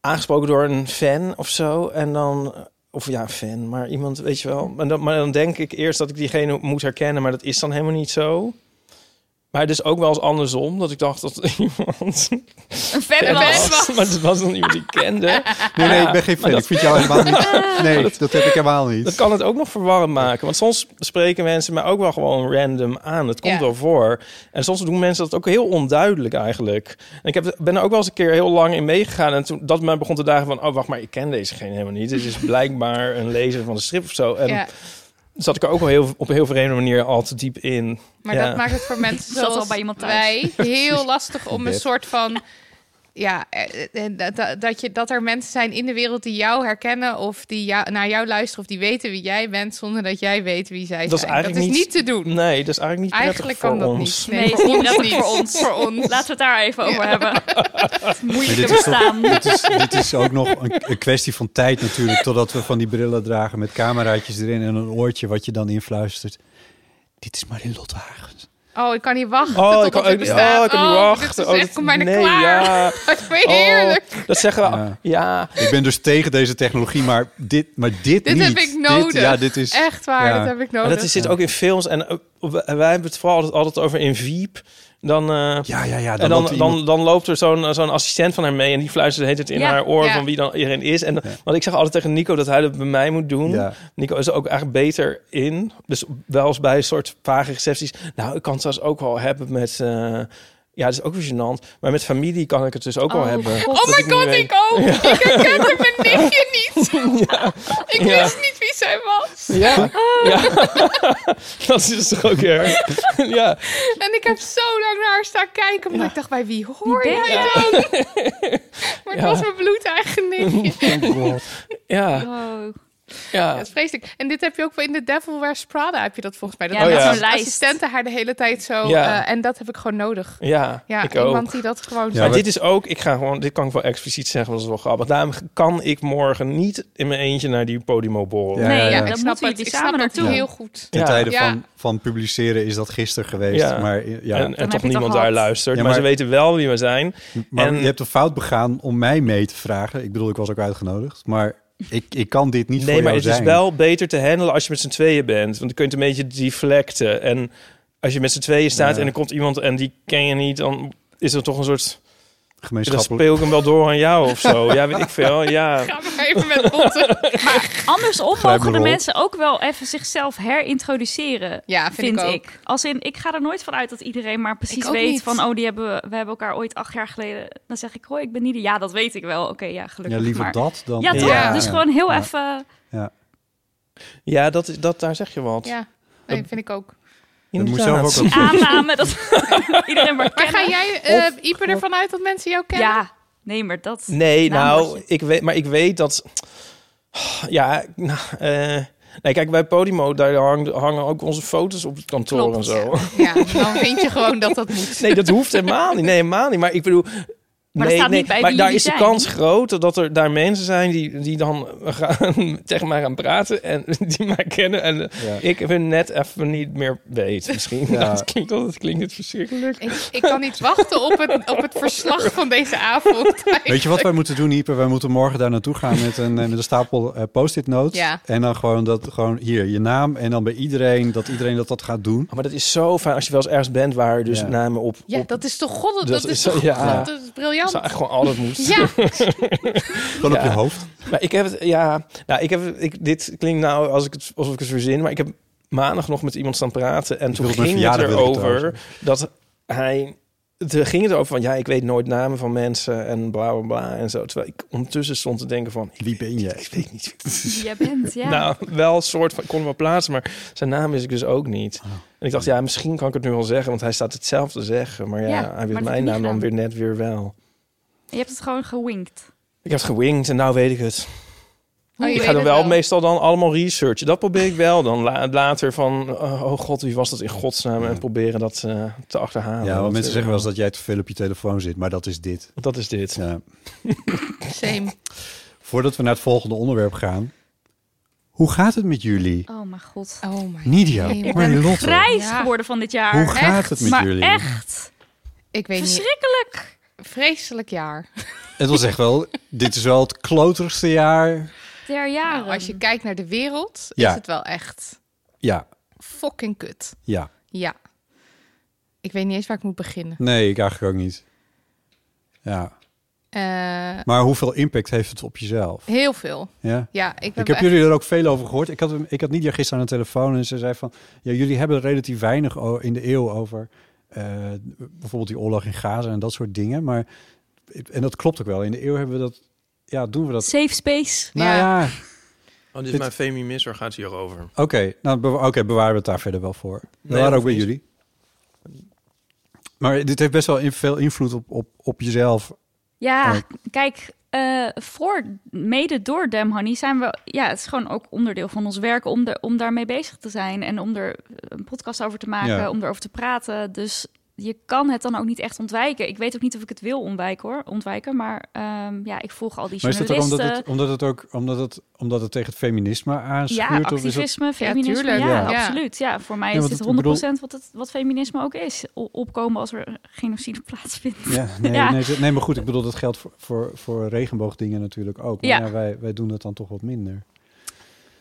aangesproken door een fan of zo. En dan... Of ja, fan, maar iemand, weet je wel. Maar dan, maar dan denk ik eerst dat ik diegene moet herkennen, maar dat is dan helemaal niet zo. Maar dus ook wel eens andersom, dat ik dacht dat [laughs] iemand...
Een fan
Een
was.
fan.
was, maar het was dan iemand die ik kende.
[laughs]
Nee, nee,
Ja,
ik ben geen
maar
fan. Ik vind jou
[laughs]
helemaal niet. Nee, dat heb ik helemaal
Dat
niet.
kan het ook nog verwarrend maken. Want soms spreken mensen mij ook wel gewoon random aan. Het komt
Ja.
wel voor. En soms doen mensen dat ook heel onduidelijk eigenlijk. En ik heb, ben er ook wel eens een keer heel lang in meegegaan. En toen dat mij begon te dagen van... Oh, wacht maar, ik ken dezegene helemaal niet. Dit
[laughs]
is blijkbaar een lezer van de strip of zo. En
Ja,
zat ik er ook wel heel, op een heel vreemde manier al te diep in.
maar
Ja.
dat maakt het
[laughs]
voor mensen
Ik zat al
zoals
bij iemand thuis.
wij heel lastig om een
Bed.
soort van... Ja, eh, eh, dat- dat- dat, je, dat er mensen zijn in de wereld die jou herkennen of die jou, naar jou luisteren of die weten wie jij bent zonder dat jij weet wie zij
Dat is
zijn.
eigenlijk
dat is
niet-
niet te doen.
Nee, dat is eigenlijk niet prettig
Eigenlijk kan
voor
dat
ons.
niet.
Nee,
voor
is niet
ons
prettig
niet.
voor ons.
Voor ons.
Laten we het daar even
[laughs]
over hebben. Het
Maar dit
moeilijke
is toch-
bestaan.
Dit is, dit is ook nog een, een kwestie van tijd natuurlijk, totdat we van die brillen dragen met cameraatjes erin en een oortje wat je dan influistert. Dit is Marilotte Hagens.
Oh, ik kan niet wachten
Oh,
tot
ik kan,
het
ook niet-
bestaat.
oh, ik kan niet wachten.
Dit is echt,
dat-
kom bijna
nee,
klaar.
Ja.
[laughs] Dat vind je
Oh,
heerlijk.
dat zeggen we.
Ja.
ja.
Ik ben dus tegen deze technologie, maar dit, maar dit,
Dit
niet.
heb ik nodig.
Dit, ja, dit is...
Echt waar,
ja.
Oh, dat heb ik
Maar
nodig.
dat is, zit ook in films. En eh, wij hebben het vooral altijd, altijd over in Veep. Dan, eh,
Ja, ja, ja.
en dan,
loopt
dan,
iemand-
dan, loopt er zo'n zo'n assistent van haar mee... en die fluistert het in
Ja,
haar oor
ja.
van wie dan iedereen is. En, Want ik zeg altijd tegen Nico dat hij dat bij mij moet doen.
Ja.
Nico is er ook echt beter in. Dus wel eens bij een soort vage recepties. Nou, ik kan het zelfs ook wel hebben met... eh, ja, dat is ook weer gênant. Maar met familie kan ik het dus ook wel hebben.
Oh my god, ik ook. Ik herkende mijn
[laughs]
nichtje niet. Ik
Ja.
wist Oh. niet wie zij was.
Ja, ja. [laughs] dat is toch ook erg. [laughs] ja.
En ik heb zo lang naar haar staan kijken. Omdat ik dacht, bij wie hoor
Wie ben
jij
[laughs]
dan? maar het
Ja.
was mijn bloedeigen nichtje.
Ja,
Oh.
ja.
Dat is vreselijk. En dit heb je ook wel in The Devil Wears Prada. Heb je dat volgens mij. Dat
Ja,
Oh
dat
ja.
als
zo'n
lijst.
assistenten haar de hele tijd zo...
Ja.
eh, en dat heb ik gewoon nodig.
Ja,
Ja,
ik ook.
iemand die dat gewoon...
Ja,
maar
we-
dit is ook, ik ga gewoon, dit kan ik wel expliciet zeggen, want dat is wel grappig. Daarom kan ik morgen niet in mijn eentje naar die Podimo borrel.
Ja,
Nee,
ja,
ja,
ja.
dat
snap
moeten
het.
jullie
Ik snap
samen
het
naartoe.
heel goed.
Ten
Ja.
tijde
Ja.
Van, van publiceren is dat gisteren geweest.
Ja.
Maar, ja.
En, en
heb
toch
je het al
niemand daar
gehad.
luistert.
Ja,
maar,
maar-
ze weten wel wie we zijn.
maar
en-
je hebt een fout begaan om mij mee te vragen. Ik bedoel, ik was ook uitgenodigd. Maar ik, ik kan dit niet voor
Nee, maar
jou
het
zijn.
is wel beter te handelen als je met z'n tweeën bent. Want dan kun je het een beetje deflecten. En als je met z'n tweeën staat
Ja.
en er komt iemand en die ken je niet, dan is er toch een soort... Dan
Gemeenschappelijk.
speel ik hem wel door aan jou of zo. ja, weet ik veel. Ja,
Ga maar even met botten.
[laughs] Andersom
Grijp
mogen
me
de
rol.
mensen ook wel even zichzelf herintroduceren.
Ja, vind ik ook.
Als in, ik ga er nooit van uit dat iedereen maar precies
Ik ook
weet
niet.
van... oh, die hebben, we- we hebben elkaar ooit acht jaar geleden... dan zeg ik, hoi, ik ben Nidia. Ja, dat weet ik wel. Oké, ja,
Ja,
gelukkig
liever
maar.
dat dan...
Ja, toch?
Ja.
Dus gewoon heel
Ja.
even...
Ja.
ja dat, is- dat, daar zeg je wat.
Ja, nee, vind ik ook.
Dat moet
Inderdaad.
zelf ook wel-
aanname dat [laughs] iedereen maar
Maar
kennen.
ga jij, eh Ieper, ervan uit dat mensen jou kennen?
Ja, nee, maar dat...
Nee, nou,
Naamwoordje.
ik weet, maar ik weet dat. Ja, nou, eh, nee, kijk, bij Podimo, daar hang- hangen ook onze foto's op het kantoor
Klopt.
en zo.
Ja, dan vind je gewoon dat dat moet.
Nee, dat hoeft helemaal niet. Nee, helemaal niet. Maar ik bedoel.
Maar er
nee,
staat
nee,
niet bij
maar
wie
daar
jullie
is de
zijn.
kans groot dat er daar mensen zijn die, die dan gaan, [laughs] tegen mij gaan praten en [laughs] die mij kennen. En
Ja.
ik hun net even niet meer [laughs] weet. Misschien.
Ja.
Dat klinkt, dat klinkt het verschrikkelijk.
Ik, ik kan niet wachten op het, op het verslag van deze avond.
Weet je wat wij moeten doen, Ieper? Wij moeten morgen daar naartoe gaan met een, eh, met een stapel eh, post-it notes.
Ja.
En dan gewoon, dat, gewoon hier, je naam. En dan bij iedereen, dat iedereen dat, dat gaat doen.
Maar dat is zo fijn als je wel eens ergens bent waar dus
Ja.
namen op.
Ja,
op-
dat is toch god, dat,
Dat
is
is-
toch
ja.
god, dat is briljant.
zou eigenlijk gewoon altijd moeten. [laughs]
Ja, Oh,
Gewoon op
Ja.
je hoofd.
Maar ik heb het, ja, nou, ik heb, het- ik, dit klinkt nou als ik het, alsof ik het verzin, maar ik heb maandag nog met iemand staan praten en toen
wilde mijn
ging het
verjaardag willen
erover
trouwens.
dat hij er ging het over van, ja, ik weet nooit namen van mensen en bla bla bla en zo. Terwijl ik ondertussen stond te denken van,
Wie ben
ik
jij?
weet niet.
Wie jij bent, ja.
Nou, wel een soort van, ik kon hem wel plaatsen, maar zijn naam wist ik dus ook niet.
Oh.
En ik dacht, ja, misschien kan ik het nu wel zeggen, want hij staat hetzelfde te zeggen. Maar ja,
Ja, maar
hij
dat
wist
heb
mijn
je
naam dan
gedaan.
weer net weer wel.
Je hebt het gewoon gewinkt.
Ik heb het gewinkt en nou weet ik het.
Oh, je
ik ga
weet
dan
het
wel, meestal dan allemaal researchen. Dat probeer ik wel dan la- later van, oh, oh god, wie was dat in godsnaam? En proberen dat eh, te achterhalen.
Ja,
Dat,
want mensen
eh,
zeggen wel eens dat jij te veel op je telefoon zit, maar dat is dit.
Dat is dit.
Ja.
Same.
Voordat we naar het volgende onderwerp gaan. Hoe gaat het met jullie?
Oh mijn god.
Oh my.
Nidia,
Ik ben
Marilotte,
Grijs
Ja.
geworden van dit jaar.
hoe gaat
echt,
het met
maar
jullie?
echt.
Ik weet niet.
Verschrikkelijk.
Vreselijk jaar.
Het was echt wel, dit is wel het kloterigste jaar.
Der jaren.
Nou, als je kijkt naar de wereld,
Ja.
is het wel echt
Ja,
fucking kut.
ja.
Ja. Ik weet niet eens waar ik moet beginnen.
Nee, ik eigenlijk ook niet. Ja.
Eh,
Maar hoeveel impact heeft het op jezelf?
heel veel.
Ja.
Ja, ik, ben
Ik heb
echt-
jullie er ook veel over gehoord. Ik had, hem- ik had Nidia gisteren aan de telefoon en ze zei van... Ja, jullie hebben relatief weinig o- in de eeuw over... eh, bijvoorbeeld die oorlog in Gaza en dat soort dingen. Maar, en dat klopt ook wel. In de eeuw hebben we dat... Ja, doen we dat...
Safe space.
Nou
Ja.
ja,
Oh, dit
Dit-
is mijn feminisme, gaat hierover.
oké. nou, bewa- oké, bewaren we het daar verder wel voor. We waren
dat
ook bij
niet.
jullie. Maar dit heeft best wel in- veel invloed op, op, op jezelf.
Ja,
Oh.
kijk, eh, voor, mede door Dem Honey zijn we... Ja, het is gewoon ook onderdeel van ons werk om, de, om daarmee bezig te zijn. En om er een podcast over te maken,
Ja.
om erover te praten. Dus je kan het dan ook niet echt ontwijken. Ik weet ook niet of ik het wil ontwijken, hoor, ontwijken maar ehm, ja, ik volg al die
Maar is dat ook
journalisten.
omdat het, omdat het, ook, omdat het, omdat het tegen het feminisme aanschuurt?
ja,
of is dat,
activisme, feminisme, ja,
tuurlijk.
Ja.
Ja.
absoluut. Ja, voor mij
Ja,
is
want
dit
het-
100%
ik bedoel-
wat, het, wat feminisme ook is. O- opkomen als er genocide plaatsvindt.
ja, nee,
Ja.
Nee, ze- nee, maar goed, ik bedoel, dat geldt voor, voor, voor regenboogdingen natuurlijk ook. Maar ja.
Ja.
wij, wij doen dat dan toch wat minder.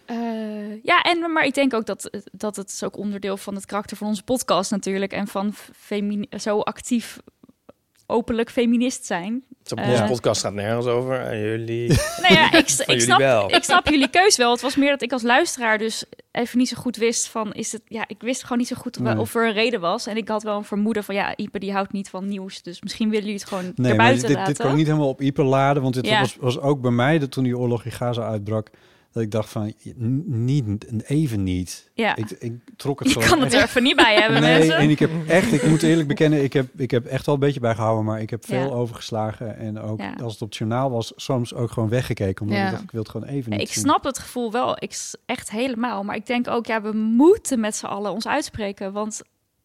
Eh, ja, en, maar ik denk ook dat, eh, dat het is ook onderdeel van het karakter van onze podcast natuurlijk. En van femi- zo actief, eh, openlijk feminist zijn.
Op
Eh.
Onze podcast gaat nergens over. En jullie...
Nou
[laughs]
ja, ik,
Van
ik,
jullie
snap,
wel.
ik snap jullie keus wel. Het was meer dat ik als luisteraar dus even niet zo goed wist van... Is het, ja, ik wist gewoon niet zo goed
Nee.
of er een reden was. En ik had wel een vermoeden van... Ja, Ipe die houdt niet van nieuws. Dus misschien willen jullie het gewoon
Nee, maar
erbuiten
dit, dit
laten.
kan ik niet helemaal op Ieper laden. Want dit
Ja.
was, was ook bij mij, dat toen die oorlog in Gaza uitbrak, dat ik dacht van, n- niet, even niet.
ja.
Ik, ik trok het
[laughs] Je
gewoon
kan het
echt-
er even niet bij hebben,
Nee,
mensen.
en ik heb echt, ik moet eerlijk bekennen, ik heb, ik heb echt wel een beetje bijgehouden, maar ik heb veel
Ja.
overgeslagen. En ook
Ja.
als het op het journaal was, soms ook gewoon weggekeken. Omdat
Ja.
ik dacht, ik wil het gewoon even niet
Ik
zien.
snap het gevoel wel, ik s- echt helemaal. Maar ik denk ook, ja, we moeten met z'n allen ons uitspreken. Want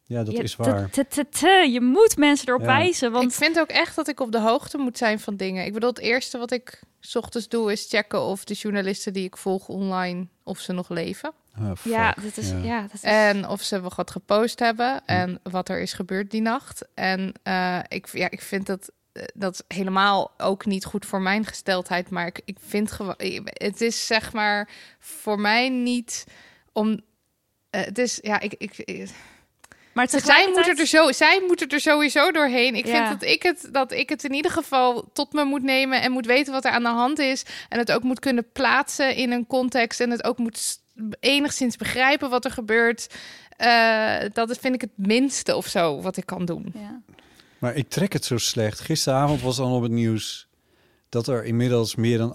Ja, dat
je,
is waar.
te- te- te- je moet mensen erop
Ja.
wijzen.
Ik
Want
vind ook echt dat ik op de hoogte moet zijn van dingen. Ik bedoel, het eerste wat ik 's ochtends doe is checken of de journalisten die ik volg online, of ze nog leven.
Ah, fuck.
ja, dat is,
Ja.
ja. dat is,
En of ze wel wat gepost hebben en wat er is gebeurd die nacht. En eh, ik, ja, ik vind dat, eh, dat is helemaal ook niet goed voor mijn gesteldheid. Maar ik, ik vind gewoon, ik- het is zeg maar voor mij niet om. eh, het is, ja, ik. ik, ik-
maar
zij, moet
tegelijkertijd-
er dus zo, zij moet er sowieso doorheen. Ik
Ja.
vind dat ik, het, dat ik het in ieder geval tot me moet nemen en moet weten wat er aan de hand is. En het ook moet kunnen plaatsen in een context. En het ook moet s- enigszins begrijpen wat er gebeurt. Eh, dat is- vind ik het minste of zo wat ik kan doen.
Ja.
Maar ik trek het zo slecht. Gisteravond was dan op het nieuws dat er inmiddels meer dan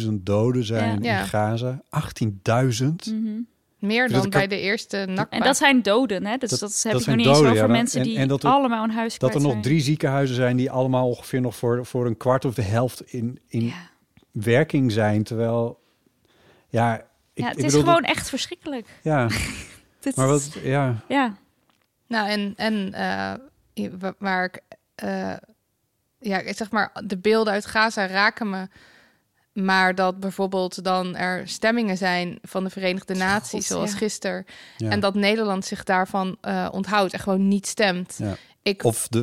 18.000 doden zijn
Ja.
in Gaza. 18.000?
Mhm.
Meer
Dat
dan
ik
bij
er-
de eerste nakba.
En dat zijn doden, hè? Dus
Dat-
dat,
dat
heb ik nog
zijn
niet eens
doden,
over
ja, dan-
mensen
en-
die
en dat er-
allemaal een huis
Dat er
kwijt
nog
zijn.
drie ziekenhuizen zijn die allemaal ongeveer nog voor, voor een kwart of de helft in, in
Ja.
werking zijn. Terwijl, ja... Ik,
Ja, het
ik
is
bedoel dat-
gewoon echt verschrikkelijk.
ja,
Dit
maar
is-
wat... Ja.
Ja,
Nou, en, en eh, i- wa- waar ik... eh, ja, ik zeg maar, de beelden uit Gaza raken me. Maar dat bijvoorbeeld dan er stemmingen zijn van de Verenigde Naties,
God,
zoals
ja.
gisteren.
ja.
En dat Nederland zich daarvan eh, onthoudt en gewoon niet stemt.
Ja.
Ik,
Of de,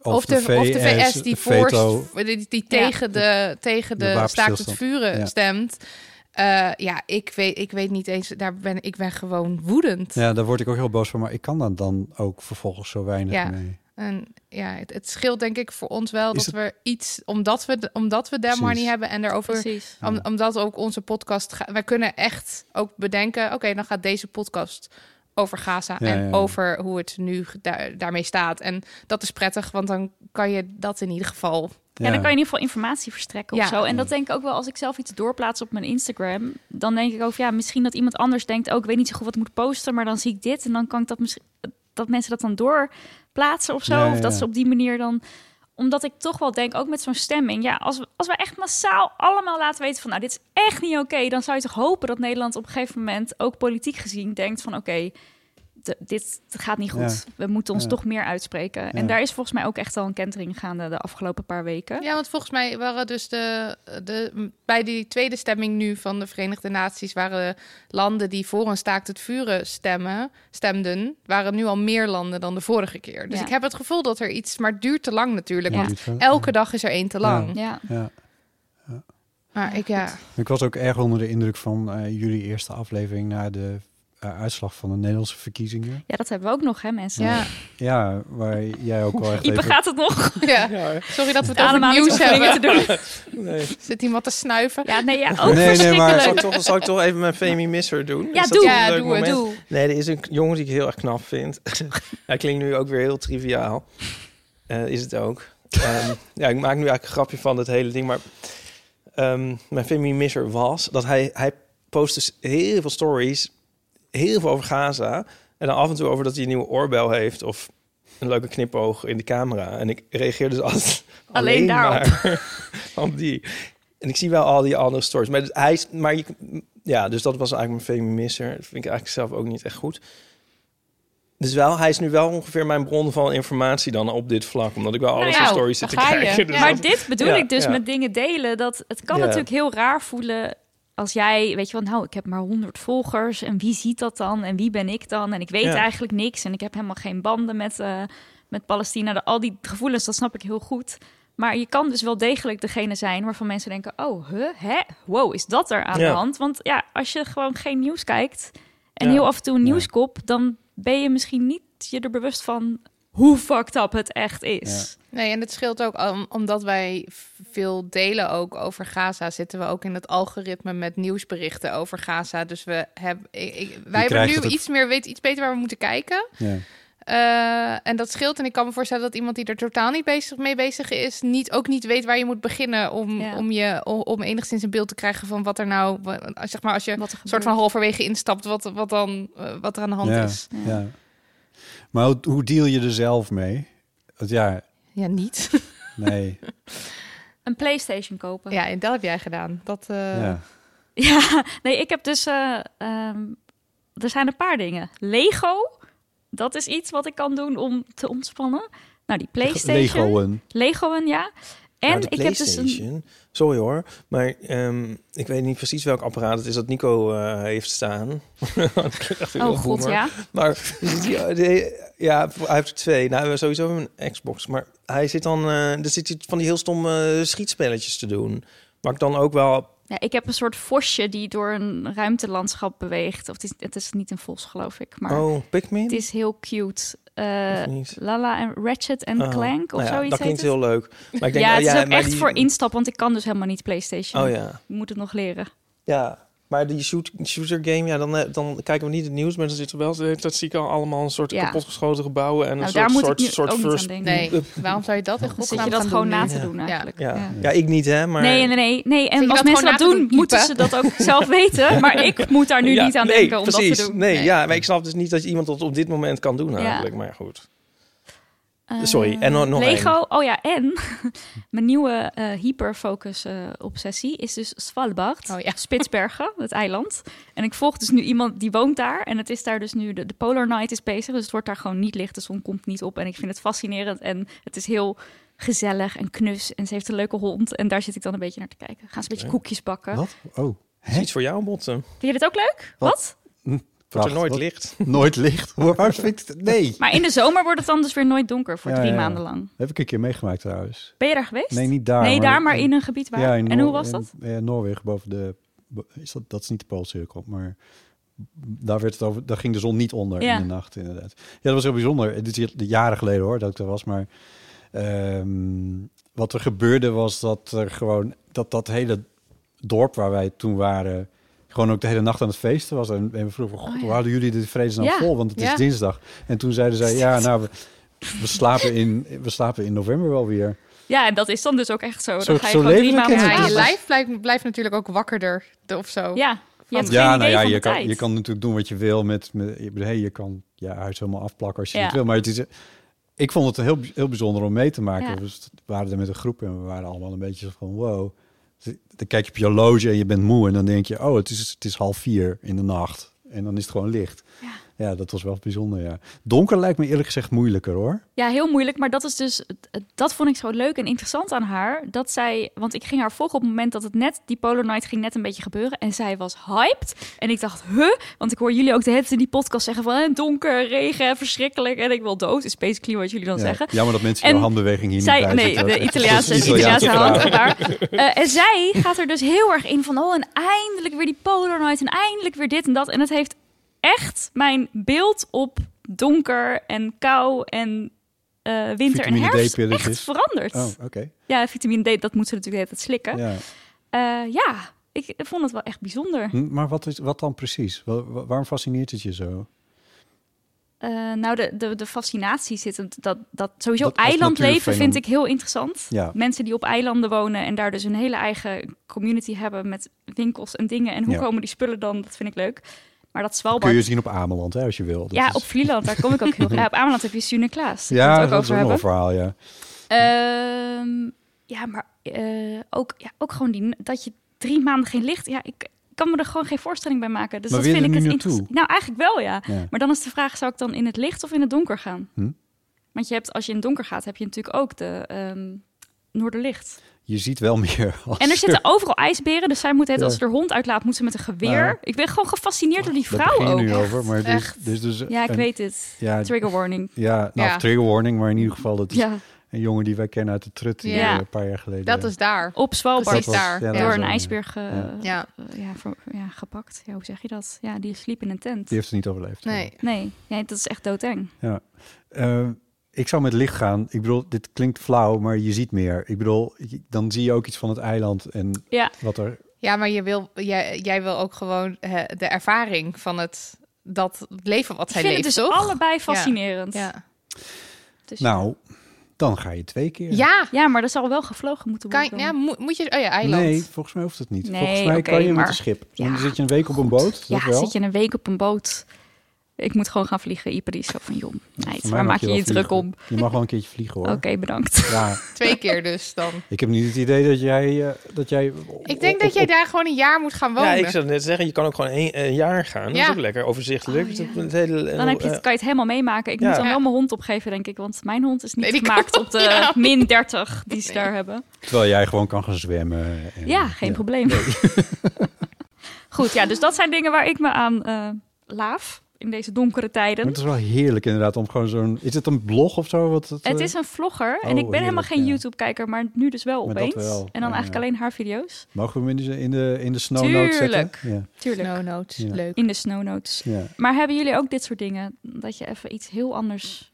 of
of de, of de VS die,
veto.
voorst, die, die
Ja.
tegen de, tegen
De
de, staakt het
wapenstilstand.
vuren
Ja.
stemt. Eh, ja, ik weet, ik weet niet eens. Daar ben, ik ben gewoon woedend.
Ja, daar word ik ook heel boos van. Maar ik kan daar dan ook vervolgens zo weinig
Ja.
mee.
En ja, het, het scheelt denk ik voor ons wel
Is
dat we iets, omdat we, omdat we Dem
Precies.
Honey hebben en daarover,
precies.
om, omdat ook onze podcast, ga- wij kunnen echt ook bedenken, oké, dan gaat deze podcast over Gaza
Ja,
en
ja.
over hoe het nu ge- daar- daarmee staat. En dat is prettig, want dan kan je dat in ieder geval.
Ja, dan kan je in ieder geval informatie verstrekken of
Ja.
zo. En
Mm.
dat denk ik ook wel als ik zelf iets doorplaats op mijn Instagram. Dan denk ik over, ja, misschien dat iemand anders denkt... oh, ik weet niet zo goed wat ik moet posten, maar dan zie ik dit. En dan kan ik dat misschien... dat mensen dat dan doorplaatsen of zo.
Ja, ja,
Of dat
ja.
ze op die manier dan omdat ik toch wel denk, ook met zo'n stemming... ja, als we, als we echt massaal allemaal laten weten van... nou, dit is echt niet oké... dan zou je toch hopen dat Nederland op een gegeven moment... ook politiek gezien denkt van, oké, d- dit gaat niet goed. We moeten ons
Ja.
toch meer uitspreken.
Ja.
En daar is volgens mij ook echt al een kentering gaande... de afgelopen paar weken.
Ja, want volgens mij waren dus de, de. Bij die tweede stemming nu van de Verenigde Naties waren landen die voor een staakt het vuren stemmen, stemden, waren nu al meer landen dan de vorige keer. Dus
Ja.
ik heb het gevoel dat er iets. Maar het duurt te lang natuurlijk.
Ja.
Want elke dag is er één te lang.
Ja.
Ja.
Maar ik ja.
Ik was ook erg onder de indruk van eh, jullie eerste aflevering na de eh, uitslag van de Nederlandse verkiezingen.
ja, dat hebben we ook nog, hè, mensen?
Ja.
Ja, waar jij ook
[laughs]
wel echt
Ipe
even-
gaat het nog.
Ja.
Ja,
Sorry dat we het over
Ademhaling
nieuws
oefeningen
hebben.
te
[laughs]
doen.
nee.
Zit iemand te snuiven?
Ja, nee, ja, ook
Nee, nee,
verschrikkelijk.
Zal ik, toch, zal ik toch even mijn Femi Misser doen?
Ja,
Is dat
doe.
een
Ja,
leuk
doe het,
moment?
doe.
[laughs] Nee, er is een jongen die ik heel erg knap vind. [laughs] Hij klinkt nu ook weer heel triviaal. Eh, is het ook.
[laughs]
Ehm, ja, ik maak nu eigenlijk een grapje van dit hele ding. Maar ehm, mijn Femi Misser was dat hij, hij post dus heel veel stories. Heel veel over Gaza. En dan af en toe over dat hij een nieuwe oorbel heeft. Of een leuke knipoog in de camera. En ik reageer dus altijd [laughs]
Alleen daarop.
maar [laughs] op die. En ik zie wel al die andere stories. Maar dus hij is, maar je, ja, dus dat was eigenlijk mijn feminisser. Dat vind ik eigenlijk zelf ook niet echt goed. Dus wel, hij is nu wel ongeveer mijn bron van informatie dan op dit vlak. Omdat ik wel alles
Nou ja,
van stories zit
daar
te
ga je.
kijken. Dus
Ah, Ja.
Maar
dat-
dit bedoel
Ja,
ik dus
ja.
met dingen delen. Dat het kan
Ja.
natuurlijk heel raar voelen als jij, weet je wel, nou, ik heb maar 100 volgers en wie ziet dat dan en wie ben ik dan en ik weet
Ja.
eigenlijk niks en ik heb helemaal geen banden met, eh, met Palestina. De- al die gevoelens, dat snap ik heel goed. Maar je kan dus wel degelijk degene zijn waarvan mensen denken, oh, huh, hè, wow, is dat er aan
Ja.
de hand? Want ja, als je gewoon geen nieuws kijkt en
Ja.
heel af en toe een nieuwskop, dan ben je misschien niet je er bewust van hoe fucked up het echt is.
Nee, en het scheelt ook om- omdat wij v- veel delen ook over Gaza. Zitten we ook in het algoritme met nieuwsberichten over Gaza. Dus we hebben, ik, ik- wij hebben
krijgt
nu
het ook-
iets meer, weten iets beter waar we moeten kijken.
Ja.
Eh, en dat scheelt. En ik kan me voorstellen dat iemand die er totaal niet bezig mee bezig is, niet, ook niet weet waar je moet beginnen om,
Ja.
om, je, om, om enigszins een beeld te krijgen van wat er nou, wa- zeg maar, als je
Wat er
soort van halverwege instapt, wat, wat dan eh, wat er aan de hand
ja.
is.
ja. Maar hoe, hoe deal je er zelf mee? Want ja,
Ja, niet.
nee.
Een PlayStation
[laughs]
kopen.
Ja, en dat heb jij gedaan. Dat, eh,
ja.
Ja, nee, ik heb dus. eh, ehm, er zijn een paar dingen. Lego, dat is iets wat ik kan doen om te ontspannen. Nou, die PlayStation.
Legoen.
Legoen, ja. En
Nou, eh. de
ik heb dus een.
PlayStation. Sorry hoor, maar ehm, ik weet niet precies welk apparaat het is dat Nico eh, heeft staan. [laughs]
Oh god, ja.
Maar ja, de- ja, hij heeft er twee. Nou, sowieso een Xbox. Maar hij zit dan, eh er zit hij van die heel stomme schietspelletjes te doen. Maar ik dan ook wel.
ja. Ik heb een soort vosje die door een ruimtelandschap beweegt. Of het is, het is niet een vos, geloof ik. Maar
Oh, Pikmin?
het is heel cute. Eh,
Of niet?
Lala en Ratchet en
Oh,
Clank of
nou ja,
zoiets.
Dat
heet
klinkt
het.
heel leuk. Maar ik denk,
ja,
oh,
het is ook
maar
echt
die-
voor instap, want ik kan dus helemaal niet PlayStation.
Oh ja.
Ik moet het nog leren.
Ja, maar die shoot, shooter game, ja, dan, eh, dan kijken we niet het nieuws, maar dan zitten we wel de hele tijd zie ik al allemaal een soort
Ja.
kapotgeschoten gebouwen en een
Nou, daar
soort,
moet
soort,
ik nu
soort
ook
first.
niet aan denken.
Nee, waarom zou je dat in
Dan zit
godsnaam
je dat
gaan
gewoon
doen
na
nu?
te doen eigenlijk.
Ja.
Ja.
Ja, ik niet, hè? Maar...
Nee, nee, nee, nee. En
Zit je
als
dat gewoon
mensen dat
na te
doen,
doen,
moeten ze
typen?
dat ook
[laughs]
zelf weten. Maar ik moet daar nu
Ja,
niet aan
nee,
denken om
precies.
dat te doen.
Nee,
Nee.
ja, maar ik snap dus niet dat iemand dat op dit moment kan doen
Ja.
eigenlijk. Maar goed.
Eh,
Sorry, en nog- nog
Lego, oh ja, en [laughs] mijn nieuwe eh, hyperfocus eh, obsessie is dus Svalbard,
Oh ja.
Spitsbergen, het eiland. En ik volg dus nu iemand die woont daar. En het is daar dus nu, de, de Polar Night is bezig. Dus het wordt daar gewoon niet licht, de zon komt niet op. En ik vind het fascinerend en het is heel gezellig en knus. En ze heeft een leuke hond en daar zit ik dan een beetje naar te kijken. Gaan ze een beetje koekjes bakken.
Wat? Oh.
Is
Hè?
iets voor jou, Botten.
Vind je dit ook leuk? Wat?
Wordt
Wacht,
er nooit
wat?
licht.
Nooit licht. Waarom vind ik het? Nee.
Maar in de zomer wordt het dan dus weer nooit donker voor
Ja,
drie
ja, ja.
maanden lang.
Heb ik een keer meegemaakt trouwens.
Ben je daar geweest?
Nee, niet daar.
Nee, daar, maar in een gebied waar.
Ja, in
en
Noor-
hoe was
in,
dat?
eh, Noorwegen, boven de... bo- Is dat, dat is niet de Poolcirkel, maar daar, werd het over, daar ging de zon niet onder
Ja.
in de nacht, inderdaad. Ja, dat was heel bijzonder. Dit is hier- jaren geleden hoor, dat ik er was, maar... ehm, wat er gebeurde was dat er gewoon... Dat dat hele dorp waar wij toen waren... gewoon ook de hele nacht aan het feesten was. En, en we vroegen, God, hoe houden jullie dit vredesnaam
Oh Ja,
vol? Want het is
ja.
dinsdag. En toen zeiden zij, ja, nou, we, we slapen in, we slapen in november wel weer.
Ja, en dat is dan dus ook echt zo. Dan
Zo-
ga je
zo
gewoon drie
levelijk
maanden
is het
Ja,
slapen.
dus.
je lijf blijft, blijft natuurlijk ook wakkerder de- of zo.
Ja, je hebt
ja,
geen
nou
idee
ja,
van
je
de
kan,
tijd.
je kan natuurlijk doen wat je wil met, met je- hey, je kan je huis helemaal afplakken als je
Ja.
dat wil. Maar het is, eh, ik vond het heel, heel bijzonder om mee te maken.
Ja.
Dus we waren er met een groep en we waren allemaal een beetje zo van wow. Dan kijk je op je horloge en je bent moe en dan denk je, oh, het is, het is half vier in de nacht. En dan is het gewoon licht.
Ja.
Ja, dat was wel bijzonder, ja. Donker lijkt me eerlijk gezegd moeilijker, hoor.
Ja, heel moeilijk. Maar dat is dus. Dat vond ik zo leuk en interessant aan haar. Dat zij. Want ik ging haar volgen op het moment dat het net. Die Polo Night ging net een beetje gebeuren. En zij was hyped. En ik dacht, huh? Want ik hoor jullie ook de hele tijd in die podcast zeggen van. eh, Donker, regen, verschrikkelijk. En ik wil dood. Is basically wat jullie dan
Ja.
zeggen.
Jammer dat mensen
En
jouw handbeweging hier
Zij,
niet bij
nee,
zitten. [laughs]
de
Dat is
Italiaanse,
een
de Italiaanse
verhaal.
hand. maar, eh, en zij gaat er dus heel erg in van... oh, en eindelijk weer die Polaroid en eindelijk weer dit en dat. En het heeft echt mijn beeld op donker en kou en eh, winter en
Vitamine
herfst
D-pilletjes.
echt veranderd.
Oh, oké.
Ja, vitamine D, dat moet ze natuurlijk de hele tijd slikken.
Ja.
Ja, ja ik vond het wel echt bijzonder.
Hm, Maar wat, is, wat dan precies? Wa- wa- waarom fascineert het je zo?
Eh, nou, de, de, de fascinatie zit hem- dat, dat sowieso
Dat als
eilandleven
natuurfenomeen.
vind ik heel interessant.
Ja.
Mensen die op eilanden wonen en daar dus hun hele eigen community hebben met winkels en dingen. En hoe
Ja.
komen die spullen dan? Dat vind ik leuk. Maar dat
Kun
Svalbard,
je zien op Ameland, hè, als je wil. Dat
ja,
is-
op Vlieland, daar kom ik
[laughs]
ook heel graag. Op Ameland heb je Sune Klaas. Daar
ja,
kunnen we
dat
het
is
ook
ook nog
over
een
hebben.
verhaal, ja.
Ehm, ja, maar eh, ook, ja, ook gewoon die, dat je drie maanden geen licht... Ja, ik kan me er gewoon geen voorstelling bij maken. Dus
Maar
dat
wil je
vind ik
er nu
het
naartoe?
interessant. Nou, eigenlijk wel, ja.
ja.
Maar dan is de vraag, zou ik dan in het licht of in het donker gaan?
Hm?
Want je hebt, als je in het donker gaat, heb je natuurlijk ook de ehm, Noorderlicht.
Je ziet wel
[laughs]
meer. als
En er zitten overal ijsberen, dus zij moet het,
Ja.
als ze er hond uitlaat, moet ze met een geweer.
Nou.
Ik ben gewoon gefascineerd door die
Daar begin
vrouw
je
ook.
nu over, maar er is,
Echt.
er is dus
Ja, ik
een-
weet het.
Ja,
Trigger warning.
ja, nou,
Ja.
of trigger warning, maar in ieder geval, dat is
Ja,
een jongen die wij kennen uit de trut die
Ja.
eh, een paar jaar geleden...
Dat is daar.
op Svalbard.
Precies
was-
daar.
ja, dat
Door
was
een
wel-
ijsbeer ge-
Ja.
Ja.
eh, ja, ver- ja, gepakt. Ja, hoe zeg je dat? Ja, die sliep in een tent.
Die heeft het niet overleefd.
Nee.
Nee, ja, dat is echt doodeng.
Eh, ik zou met licht gaan. Ik bedoel, dit klinkt flauw, maar je ziet meer. Ik bedoel, je- dan zie je ook iets van het eiland en
Ja.
wat er...
Ja, maar je wil, jij, jij wil ook gewoon eh, de ervaring van het, dat leven wat
Ik
zij
vind het
leeft,
dus
toch?
allebei fascinerend.
Ja.
Dus-
Nou, dan ga je twee keer.
Ja,
Ja, maar er zal wel gevlogen moeten
kan,
worden.
ja moet, moet je... Oh ja, eiland.
Nee, volgens mij hoeft het niet.
Nee,
volgens mij
oké,
kan je met
maar-
een schip.
Ja,
dan zit je een week op een
Goed.
boot. Dat
ja,
wel.
zit je een week op een boot. Ik moet gewoon gaan vliegen. Ieper die is zo van, joh, meid,
Voor mij
waar
mag
maak je
wel
je druk
vliegen.
om?
Je mag wel een keertje vliegen hoor.
Oké, bedankt. [laughs]
Ja,
Twee keer dus dan.
ik heb niet het idee dat jij... eh, dat jij
Ik denk dat jij daar gewoon een jaar moet gaan wonen.
Ja, ik zou net zeggen, je kan ook gewoon een, een jaar gaan. Dat is
Ja.
ook lekker overzichtelijk.
Oh, ja.
Het- het hele- eh,
Dan heb je het, kan je het helemaal meemaken. Ik
ja.
moet dan
eh, Ja.
wel mijn hond opgeven, denk ik. Want mijn hond is niet
Nee, die kan
gemaakt op de
[laughs] Ja.
min 30 die ze daar hebben.
Terwijl jij gewoon kan gaan zwemmen. en-
Ja, geen probleem. [laughs] Goed, ja, dus dat zijn dingen waar ik me aan eh, laaf in deze donkere
Maar
tijden.
het is wel heerlijk inderdaad om gewoon zo'n... Is het een blog of zo? Wat het,
Het
eh,
is een vlogger en
Oh,
ik ben helemaal
heerlijk,
geen
ja.
YouTube-kijker, maar nu dus wel
Maar dat
opeens.
wel,
En dan
ja,
eigenlijk
ja.
alleen haar video's.
Mogen we hem in de, in de, in de snow note zetten?
Tuurlijk.
Ja.
Tuurlijk,
No notes,
Ja.
leuk.
in de snow notes.
Ja.
Maar hebben jullie ook dit soort dingen? Dat je even iets heel anders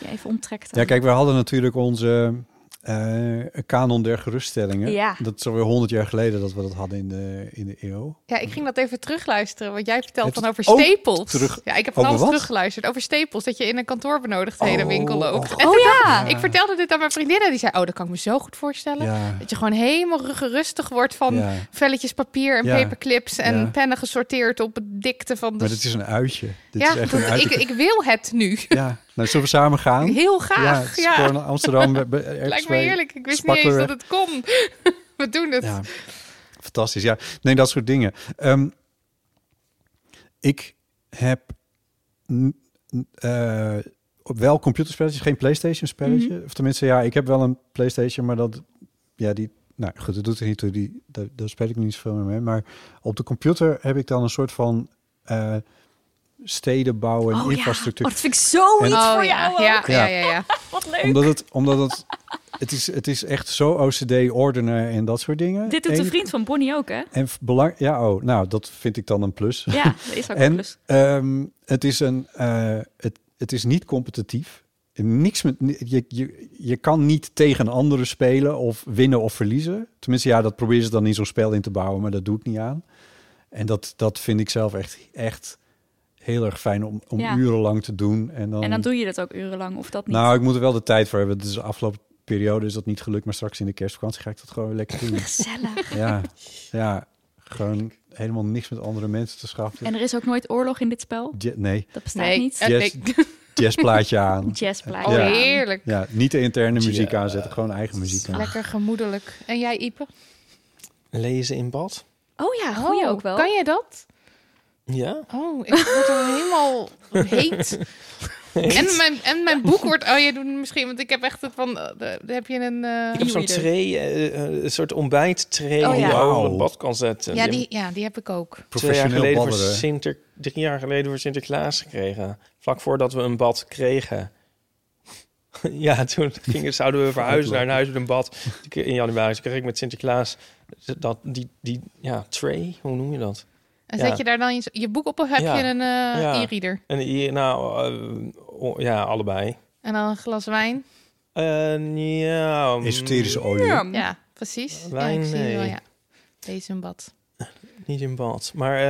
je even omtrekt?
ja, kijk, we hadden natuurlijk onze eh kanon der geruststellingen.
Ja.
Dat is alweer honderd jaar geleden dat we dat hadden in de, in de eeuw.
Ja, ik ging dat even terugluisteren, want jij vertelt
Heeft
dan over
het ook
stapels.
terug-
Ja, ik heb
Over
van alles
wat?
teruggeluisterd over stapels, dat je in een kantoorbenodigdhedenwinkel
Oh,
loopt.
oh,
En
Oh ja!
ik vertelde dit aan mijn vriendinnen, die zei, oh, dat kan ik me zo goed voorstellen.
Ja.
Dat je gewoon helemaal ru- gerustig wordt van
Ja.
velletjes papier en
Ja.
paperclips en
Ja.
pennen gesorteerd op de dikte van de...
Maar dit is een uitje. Dit
dus ja,
is echt
dat-
een uitje.
ik, ik wil het nu.
Ja, nou, zullen we samen gaan?
Heel
Ja, het
graag.
is
Ja,
gewoon Amsterdam. be- be- ergens
[laughs] Lijkt me
bij
heerlijk. Ik wist niet
Spakkelen.
eens dat het kon. [laughs] We doen het.
Ja, [laughs] fantastisch. Ja, nee, dat soort dingen. Ehm, ik heb n- n- eh, op wel computerspelletjes, geen PlayStation spelletje.
Mhm.
Of tenminste, ja, ik heb wel een PlayStation, maar dat, ja, die, nou goed, dat doet er niet toe. Die, daar, daar speel ik niet zoveel meer mee. Maar op de computer heb ik dan een soort van eh steden bouwen, en
Oh,
infrastructuur.
Ja. Oh, dat vind ik zo
En-
iets
Oh,
voor
ja.
jou.
Ja,
ook.
ja, ja,
[laughs]
ja.
Wat leuk.
Omdat het, omdat het, het is, het is echt zo OCD ordenen en dat soort dingen.
Dit doet
Eén-
de vriend van Bonnie ook, hè?
En v- belang, ja, oh, nou, dat vind ik dan een plus.
Ja, dat is ook een
en
plus.
ehm, het is een, eh, het, het is niet competitief. Niks met, ni- je, je, je kan niet tegen anderen spelen of winnen of verliezen. Tenminste, ja, dat proberen ze dan in zo'n spel in te bouwen, maar dat doet niet aan. En dat, dat vind ik zelf echt, echt heel erg fijn om, om
Ja.
urenlang te doen. En dan,
En dan doe je dat ook urenlang of dat niet.
Nou, ik moet er wel de tijd voor hebben. Dus de afgelopen periode is dat niet gelukt. Maar straks in de kerstvakantie ga ik dat gewoon weer lekker doen.
Gezellig.
ja, ja, gewoon helemaal niks met andere mensen te schaffen.
En er is ook nooit oorlog in dit spel.
Ja- nee,
Dat bestaat niet.
eh,
Yes.
nee.
jazzplaatje
[laughs]
aan.
Jazzplaatje.
Oh,
Ja.
heerlijk.
Ja, niet de interne muziek aanzetten, gewoon eigen muziek aan.
Lekker gemoedelijk. En jij, Ipe?
Lezen in bad?
Oh ja, goeie ook wel.
Kan jij dat?
Ja.
Oh, ik word er
[laughs]
helemaal heet.
[laughs]
En mijn, en mijn [laughs] boek wordt... Oh, jij doet het misschien... Want ik heb echt het van... eh, de- heb je een... eh,
Ik heb zo'n tray, eh, eh, een soort ontbijttray
Oh,
die je
ja.
over
Wauw.
het bad kan zetten.
ja, die, ja, die heb ik ook.
twee jaar
Professioneel
geleden voor
babbelen.
Sinter, drie jaar geleden voor Sinterklaas gekregen. Vlak voordat we een bad kregen. [laughs] ja, toen gingen, zouden we verhuizen naar een huis met een bad. In januari toen kreeg ik met Sinterklaas dat, die, die ja, tray, hoe noem je dat?
En
Ja.
zet je daar dan je, je boek op of heb
Ja.
je een eh,
Ja.
e-reader?
En die, nou, eh, o- ja, allebei.
En dan een glas wijn?
Eh, ja, mm,
Esoterische olie.
Ja.
Ja, precies.
Wijn,
ja, ik zie het wel,
nee.
ja. Deze een bad.
Niet in bad. Maar eh,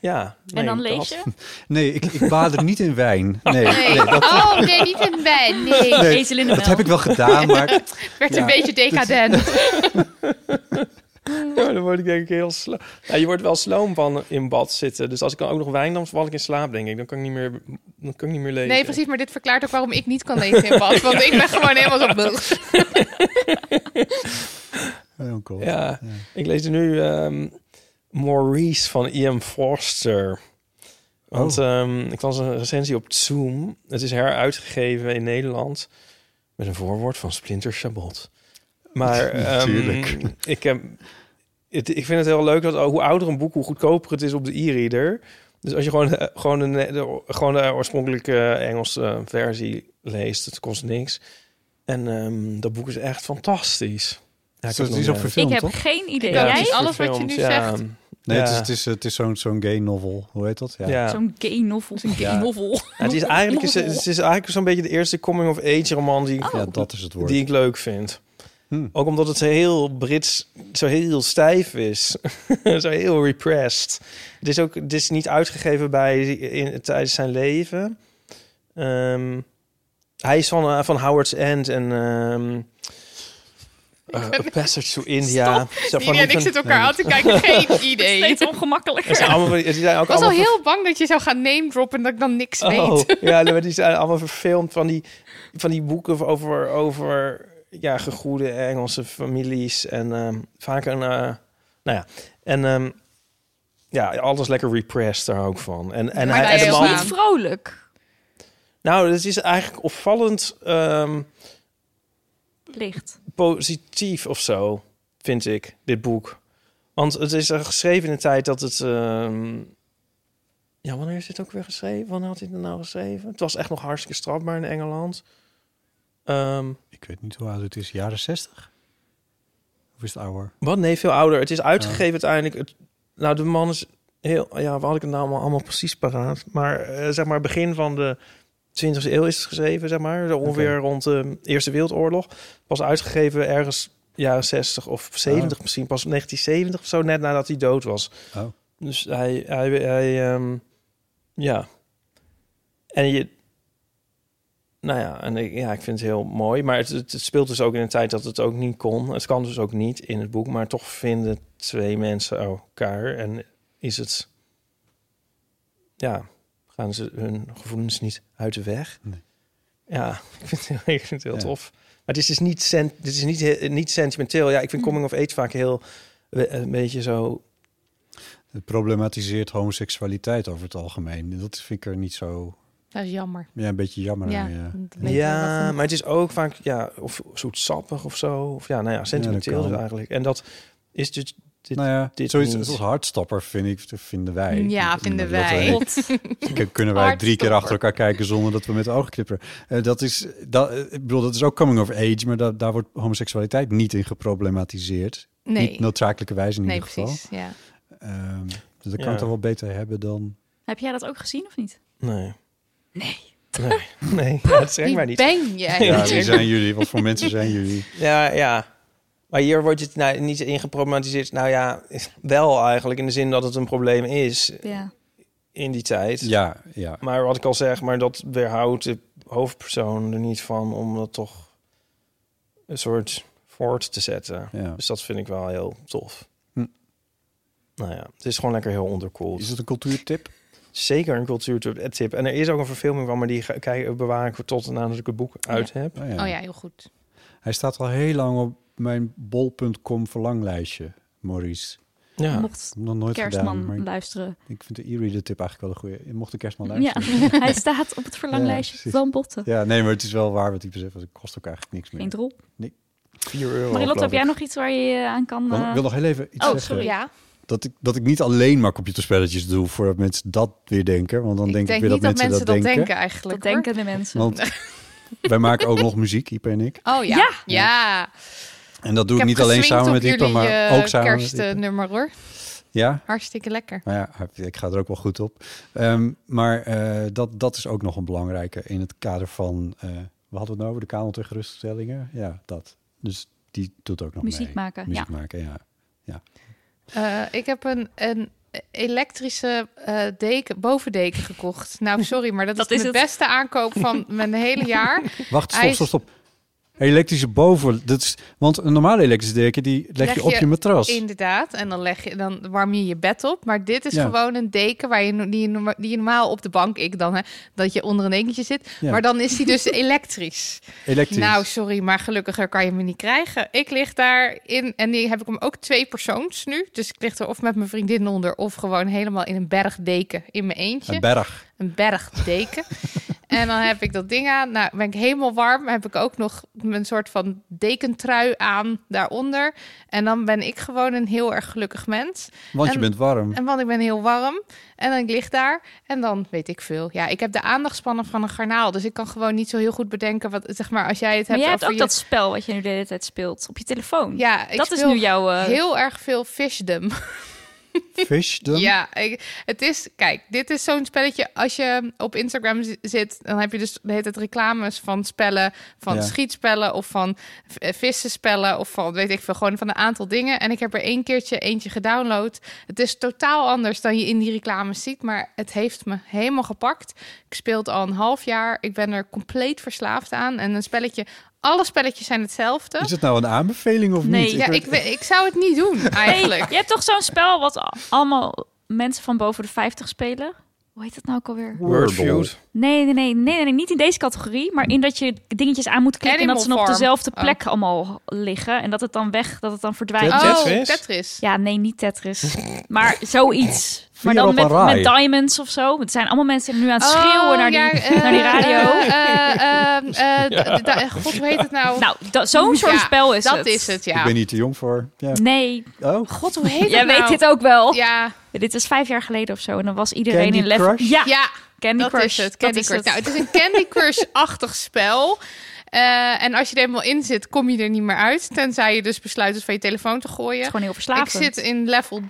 ja. nee,
En dan
dat.
lees je.
Nee, ik, ik baad er niet in wijn. Nee,
Nee. Oh, nee, niet een wijn. Nee.
Nee,
Ezel in de
dat
mel.
heb ik wel gedaan, maar
Werd
Ja.
een beetje decadent.
[laughs] Ja, maar dan word ik denk ik heel sla- Ja, je wordt wel sloom van in bad zitten. Dus als ik dan ook nog wijn nam, val ik in slaap, denk ik. Dan kan ik niet meer, dan kan ik niet meer lezen.
Nee, precies. Maar dit verklaart ook waarom ik niet kan lezen in bad. Want ik ben gewoon helemaal zo... [laughs] bleh.
Oh, cool.
Ja, ik lees nu ehm, Maurice van E.M. Forster. Want
Oh.
ehm, ik las een recensie op Zoom. Het is heruitgegeven in Nederland. Met een voorwoord van Splinter Chabot.
[laughs]
Maar ehm,
Natuurlijk.
ik, heb, het, ik vind het heel leuk dat oh, hoe ouder een boek, hoe goedkoper het is op de e-reader. Dus als je gewoon, eh, gewoon, de, ne- de- gewoon de oorspronkelijke eh, Engelse versie leest, het kost niks. En ehm, dat boek is echt fantastisch. Ja, ik
Dus
heb
die is
nog meer.
ook
Ik
verfilmd,
heb
toch?
geen idee.
Ja,
Jij?
precies. alles wat je nu
Verfilmd,
zegt.
Nee, het is,
Ja.
het is, het is zo'n, zo'n gay novel. Hoe heet dat?
Ja.
Ja.
Ja.
Zo'n gay novel. Zo'n gay
Ja.
novel.
Ja, het is eigenlijk, is- het is eigenlijk zo'n beetje de eerste coming-of-age roman die, ik-
Ja, dat is het
Oh.
woord.
die ik leuk vind.
Hm.
Ook omdat het heel Brits, zo heel stijf is. [laughs] zo heel repressed. Het is ook het is niet uitgegeven bij, in, tijdens zijn leven. Ehm, hij is van, eh, van Howard's End en ehm eh, A Passage to India. Zo van
Jullie en ik
een-
zitten elkaar aan te [laughs] kijken. Geen idee.
[laughs] Steeds
Ik
het zijn
ongemakkelijker.
allemaal, het zijn ook
was al
allemaal
heel bang dat je zou gaan name droppen en dat ik dan niks weet.
Oh,
[laughs]
ja, maar die zijn allemaal verfilmd van die, van die boeken over, over ja, gegoede Engelse families. En ehm, vaak een... eh, nou ja, en ehm, ja, alles lekker repressed daar ook van. En, en,
Maar
hij,
hij
en de
is
man-
allemaal-
niet vrolijk.
Nou, het is eigenlijk opvallend ehm,
Licht.
positief of zo, vind ik, dit boek. Want het is er geschreven in de tijd dat het... ehm, ja, wanneer is dit ook weer geschreven? Wanneer had hij het nou geschreven? Het was echt nog hartstikke strafbaar in Engeland. Ehm,
Ik weet niet hoe oud het is. Jaren 60? Of is het ouder?
Wat? Nee, veel ouder. Het is uitgegeven uiteindelijk. Het, nou, de man is heel... Ja, waar had ik het nou allemaal, allemaal precies paraat? Maar eh, zeg maar begin van de 20e eeuw is het geschreven, zeg maar. Zo ongeveer rond de Eerste Wereldoorlog. Pas uitgegeven ergens jaren 60 of 70 misschien. Pas 1970 of zo, net nadat hij dood was.
Oh.
Dus hij... hij, hij ehm, ja. En je... Nou ja, en ik, ja, ik vind het heel mooi. Maar het, het, het speelt dus ook in een tijd dat het ook niet kon. Het kan dus ook niet in het boek. Maar toch vinden twee mensen elkaar. En is het... Ja, gaan ze hun gevoelens niet uit de weg.
Nee.
Ja, [laughs] ik vind het heel, ik vind het heel
Ja.
tof. Maar dit is, niet, sen, dit is niet, he- niet sentimenteel. Ja, ik
Hm.
vind coming of age vaak heel... we- Een beetje zo...
Het problematiseert homoseksualiteit over het algemeen. Dat vind ik er niet zo...
Dat is jammer.
Ja, een beetje jammer
Ja,
aan. Ja.
dat weet je wel.
Ja, maar het is ook vaak... Ja, of zoetsappig of zo. Of ja, nou ja, sentimenteel
kan.
dus eigenlijk. En dat is dus... Dit,
nou ja,
dit
zoiets
niet.
als hardstopper vind ik, vinden wij.
Ja,
Dat-
vinden
dat
wij.
weet ik. K- Kunnen wij drie keer
Hardstopper.
achter elkaar kijken zonder dat we met de ogen knipperen. Eh, dat is, dat, eh, ik bedoel, dat is ook coming of age, maar da- daar wordt homoseksualiteit niet in geproblematiseerd.
Nee.
Niet noodzakelijke wijze in
Nee,
ieder geval.
precies. Ja.
Ehm, dus dat kan
Ja.
het toch wel beter hebben dan...
Heb jij dat ook gezien of niet?
Nee.
Nee.
Nee, [laughs]
[laughs]
nee dat trekt
Wie
mij niet.
ben jij?
Ja, wie zijn jullie? Wat voor mensen zijn jullie?
Ja, ja. Maar hier wordt het nou, niet ingeproblematiseerd. Nou ja, wel eigenlijk. In de zin dat het een probleem is
Ja.
in die tijd.
Ja, ja.
Maar wat ik al zeg, maar dat weerhoudt de hoofdpersoon er niet van om dat toch een soort voort te zetten.
ja.
Dus dat vind ik wel heel tof.
Hm.
Nou ja, het is gewoon lekker heel onderkoeld.
Is het een cultuurtip?
Zeker een cultuurtip. En er is ook een verfilming van, maar die ga- kijk, bewaar ik tot nadat ik het boek uit heb.
Oh
Oh ja, heel goed.
Hij staat al heel lang op mijn bol.com verlanglijstje, Maurice. Ik
Ja.
Mocht
heb hem nog nooit
Kerstman
gedaan, maar ik-
luisteren.
ik vind de e-reader tip eigenlijk wel een goeie. Je mocht de Kerstman
Ja,
luisteren.
[laughs] hij staat op het
Ja,
verlanglijstje
precies.
van Botten.
Ja. nee, maar het is wel waar wat ik besef. want Het kost ook eigenlijk niks
Geen
meer.
drol.
Oh,
4 euro.
Marilotte,
geloof
heb jij
ik.
nog iets waar je eh, aan kan...
Want
eh,
ik wil nog heel even iets
Oh,
zeggen.
sorry.
Ja.
Dat ik, dat ik niet alleen maar computerspelletjes doe voordat mensen dat weer denken. Want dan
ik
denk,
denk,
ik weer
niet
dat mensen dat denken.
eigenlijk.
dat
hoor.
denken de mensen.
Want wij maken ook nog muziek, Ipe en ik.
Oh ja.
Ja.
Ja.
En dat doe
Ik
ik
heb
niet alleen
geswingd
samen
op
met Ipe,
jullie,
maar
eh,
ook samen met Ipe.
kerstnummer hoor.
Ja,
Hartstikke lekker.
Nou ja, ik ga er ook wel goed op. Ehm, maar eh, dat, dat is ook nog een belangrijke in het kader van... eh we hadden het nou over de kanon tegen ruststellingen. Ja, dat. Dus die doet ook nog
Muziek
mee.
maken,
Muziek
ja.
maken, ja.
Eh, ik heb een, een elektrische eh, deken, bovendeken gekocht. Nou, sorry, maar [laughs] dat,
Dat
is,
is
de
het.
beste aankoop [laughs] van mijn hele jaar.
Wacht,
Hij
stop,
is-
stop, stop. Elektrische boven. Dat is, want een normale elektrische deken, die leg,
Leg
je op je,
je
matras.
Inderdaad. En dan, leg je, dan warm je je bed op. Maar dit is
Ja.
gewoon een deken waar je, no- die, je norma- die je normaal op de bank, ik dan, hè, dat je onder een dekentje zit.
Ja.
Maar dan is die
[laughs]
dus elektrisch.
Elektrisch.
Nou, sorry, maar gelukkiger kan je me niet krijgen. Ik lig daarin en die heb ik hem ook twee persoons nu. Dus ik lig er of met mijn vriendin onder of gewoon helemaal in een bergdeken in mijn eentje.
een berg.
een
[laughs]
bergdeken. en dan heb ik dat ding aan. Nou, ben ik helemaal warm. Heb ik ook nog een soort van dekentrui aan daaronder. En dan ben ik gewoon een heel erg gelukkig mens.
Want je
en-
bent warm.
En want ik ben heel warm. En dan ik lig daar. En dan weet ik veel. Ja, ik heb de aandachtspannen van een garnaal. Dus ik kan gewoon niet zo heel goed bedenken wat, zeg maar, als jij het
maar
hebt
jij hebt ook
over je...
dat spel wat je nu de hele tijd speelt op je telefoon.
Ja, ik
dat is
speel
nu jouw... eh,
heel erg veel fishdom.
Fish dan?
Ja, ik, het is, kijk, dit is zo'n spelletje. Als je op Instagram zi- zit, dan heb je dus de hele tijd reclames van spellen, van
Ja.
schietspellen of van v- eh, vissenspellen of van weet ik veel, gewoon van een aantal dingen. En ik heb er één keertje eentje gedownload. Het is totaal anders dan je in die reclames ziet, maar het heeft me helemaal gepakt. Ik speel het al een half jaar. Ik ben er compleet verslaafd aan. En een spelletje, alle spelletjes zijn hetzelfde.
Is het nou een aanbeveling of
Nee.
niet?
Ja,
weet-
ik, we- ik zou het niet
[laughs]
doen
Hey,
eigenlijk.
je hebt toch zo'n spel wat a- allemaal mensen van boven de 50 spelen? Hoe heet dat nou ook alweer?
Wordfeud.
Nee, nee, nee, nee, nee, niet in deze categorie. Maar in dat je dingetjes aan moet klikken en dat
Animal
ze dan op
Farm.
dezelfde
Oh.
plek allemaal liggen. En dat het dan weg, dat het dan verdwijnt.
Tetris?
Oh, Tetris.
Ja, nee,
[laughs]
niet Tetris. Maar zoiets. Maar
op
dan
een
met,
raai.
met diamonds of zo. Het zijn allemaal mensen nu aan het schreeuwen
Oh,
naar, die, [laughs]
ja, eh,
naar die radio.
eh, eh,
[laughs]
eh, eh, d- d- God, hoe heet het nou?
nou, dat- zo'n soort
Ja,
spel is
dat
het.
Dat is het, ja.
Ik ben niet te jong voor. Ja.
Nee,
Oh,
God, hoe heet
[laughs] jij
het nou?
weet dit ook wel.
Ja,
Dit is vijf jaar geleden of zo. En dan was iedereen
Candy
in level...
Crush?
Ja,
ja
Candy
dat
Crush.
is het.
Dat
Candy
is
Crush.
het.
Nou, het is een
[laughs]
Candy Crush-achtig spel. Eh, en als je er eenmaal in zit, kom je er niet meer uit. Tenzij je dus besluit het van je telefoon te
Het
gooien.
is gewoon heel verslavend.
Ik zit in level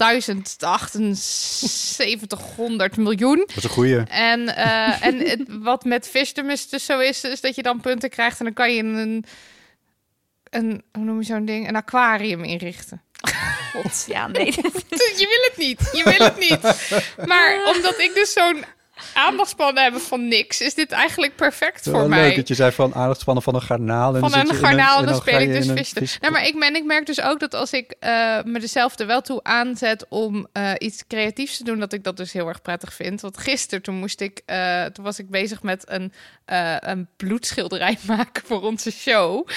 1078 miljoen.
dat is een goeie.
En, eh, en het, wat met Fisdemus dus zo is, is dat je dan punten krijgt en dan kan je een, een hoe noem je zo'n ding, een aquarium inrichten.
God, ja, nee.
[laughs] Je wil het niet, je wil het niet. Maar omdat ik dus [laughs] zo'n aandachtspannen heb van niks, is dit eigenlijk perfect
Wel
voor mij.
Leuk dat je zei van aandachtspannen van een garnaal. En dan
van
zit
een
je in
garnaal,
en
dan
ga
speel ik
je
dus
in een
vissen.
vis-
Nou, maar ik, ben, ik merk dus ook dat als ik eh, me er zelf er wel toe aanzet om eh, iets creatiefs te doen, dat ik dat dus heel erg prettig vind. Want gisteren toen moest ik, eh, toen was ik bezig met een, eh, een bloedschilderij [laughs] maken voor onze show.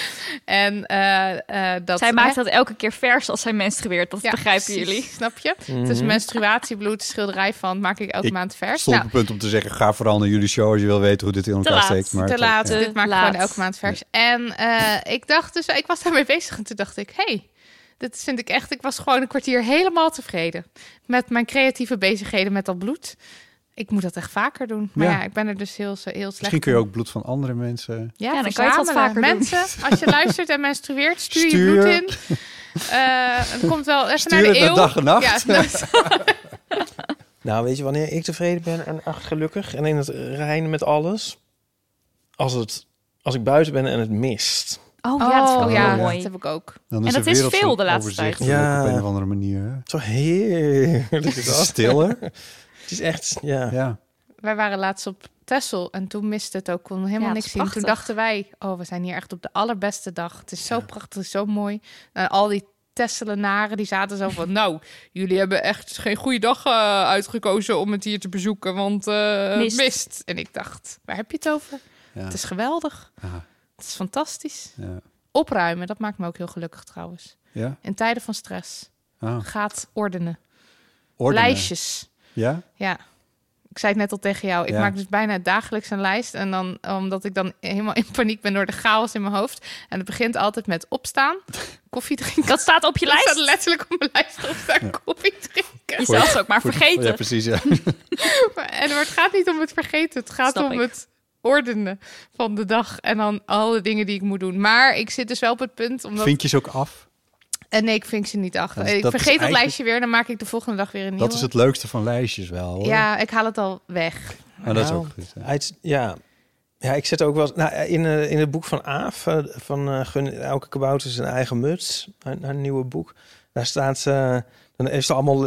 En eh, eh, dat
Zij
hè,
maakt dat elke keer vers als zij menstrueert. Dat begrijpen
precies,
jullie.
Snap je? Het is menstruatiebloed, schilderij van maak ik elke
Mhm. Ik
maand vers.
stond op
Nou,
het punt om te zeggen: ga vooral naar jullie show als je wil weten hoe dit in elkaar
laat,
steekt. Maar
te
toch,
laat. eh,
ja.
Te
Dit maak ik
laat.
gewoon elke maand vers. En eh, ik dacht dus, ik was daarmee bezig en toen dacht ik, hey, dit vind ik echt, ik was gewoon een kwartier helemaal tevreden met mijn creatieve bezigheden met dat bloed. Ik moet dat echt vaker doen. Maar ja,
Ja.
ik ben er dus heel, heel slecht.
Misschien kun je ook bloed van andere mensen.
Ja,
Ja, dan kan je het wat
verzamelen.
vaker doen.
Mensen, als je luistert en [laughs] menstrueert, stuur,
Stuur.
je bloed in. Eh, het komt wel even
Stuur
naar de
het naar
eeuw.
dag en nacht.
Ja, nou,
[laughs]
Nou, weet je wanneer ik tevreden ben en echt gelukkig en in het rein met alles? Als, het, als ik buiten ben en het mist.
Oh, ja, dat is ook
oh,
heel
ja,
mooi.
dat heb ik ook.
Dan
En
de
dat is
wereld
veel
zo
de laatste tijd.
overzichtelijk
Ja.
Op een of andere manier.
Zo heerlijk is dat.
Stiller.
[laughs] Het is echt, ja.
Ja.
Wij waren laatst op Texel en toen miste het ook. Kon helemaal
Ja, het
niks
is
zien. Toen
prachtig.
dachten wij, oh, we zijn hier echt op de allerbeste dag. Het is zo prachtig, zo mooi. En al die Tesselenaren die zaten zo van, nou, jullie hebben echt geen goede dag eh, uitgekozen om het hier te bezoeken, want eh,
Mist.
mist. En ik dacht, waar heb je het over?
Ja.
Het is geweldig.
Aha.
Het is fantastisch.
Ja.
Opruimen, dat maakt me ook heel gelukkig trouwens.
ja.
In tijden van stress
Ah,
gaat ordenen.
ordenen.
Lijstjes.
Ja?
Ja. Ik zei het net al tegen jou. Ik
Ja.
maak dus bijna dagelijks een lijst. En dan, omdat ik dan helemaal in paniek ben door de chaos in mijn hoofd. En het begint altijd met opstaan, koffie drinken.
Dat staat op je
Ik staat
lijst.
letterlijk op mijn lijst opstaan, koffie drinken.
Die zelfs ook maar
Voor de-
vergeten.
Oh, Ja, precies. Ja.
Maar- En maar het gaat niet om het vergeten. Het gaat
Snap
om
ik.
het ordenen van de dag. En dan alle dingen die ik moet doen. Maar ik zit dus wel op het punt. [laughs] Omdat...
Vind je ze ook af?
En nee, ik vink ze niet achter.
Dat is-
ik
dat is
vergeet dat
eigenlijk-
lijstje weer. Dan maak ik de volgende dag weer een nieuwe.
Dat is het leukste van lijstjes wel. Hoor.
Ja, ik haal het al weg.
Maar dat is
Nou,
ook goed. hè.
Hij is- ja. Ja, ik zit ook wel eens- nou, in, eh, in het boek van Aaf, eh, van eh, Gun Elke Kabouter zijn eigen muts, haar, haar nieuwe boek. Daar staat, eh, dan heeft ze allemaal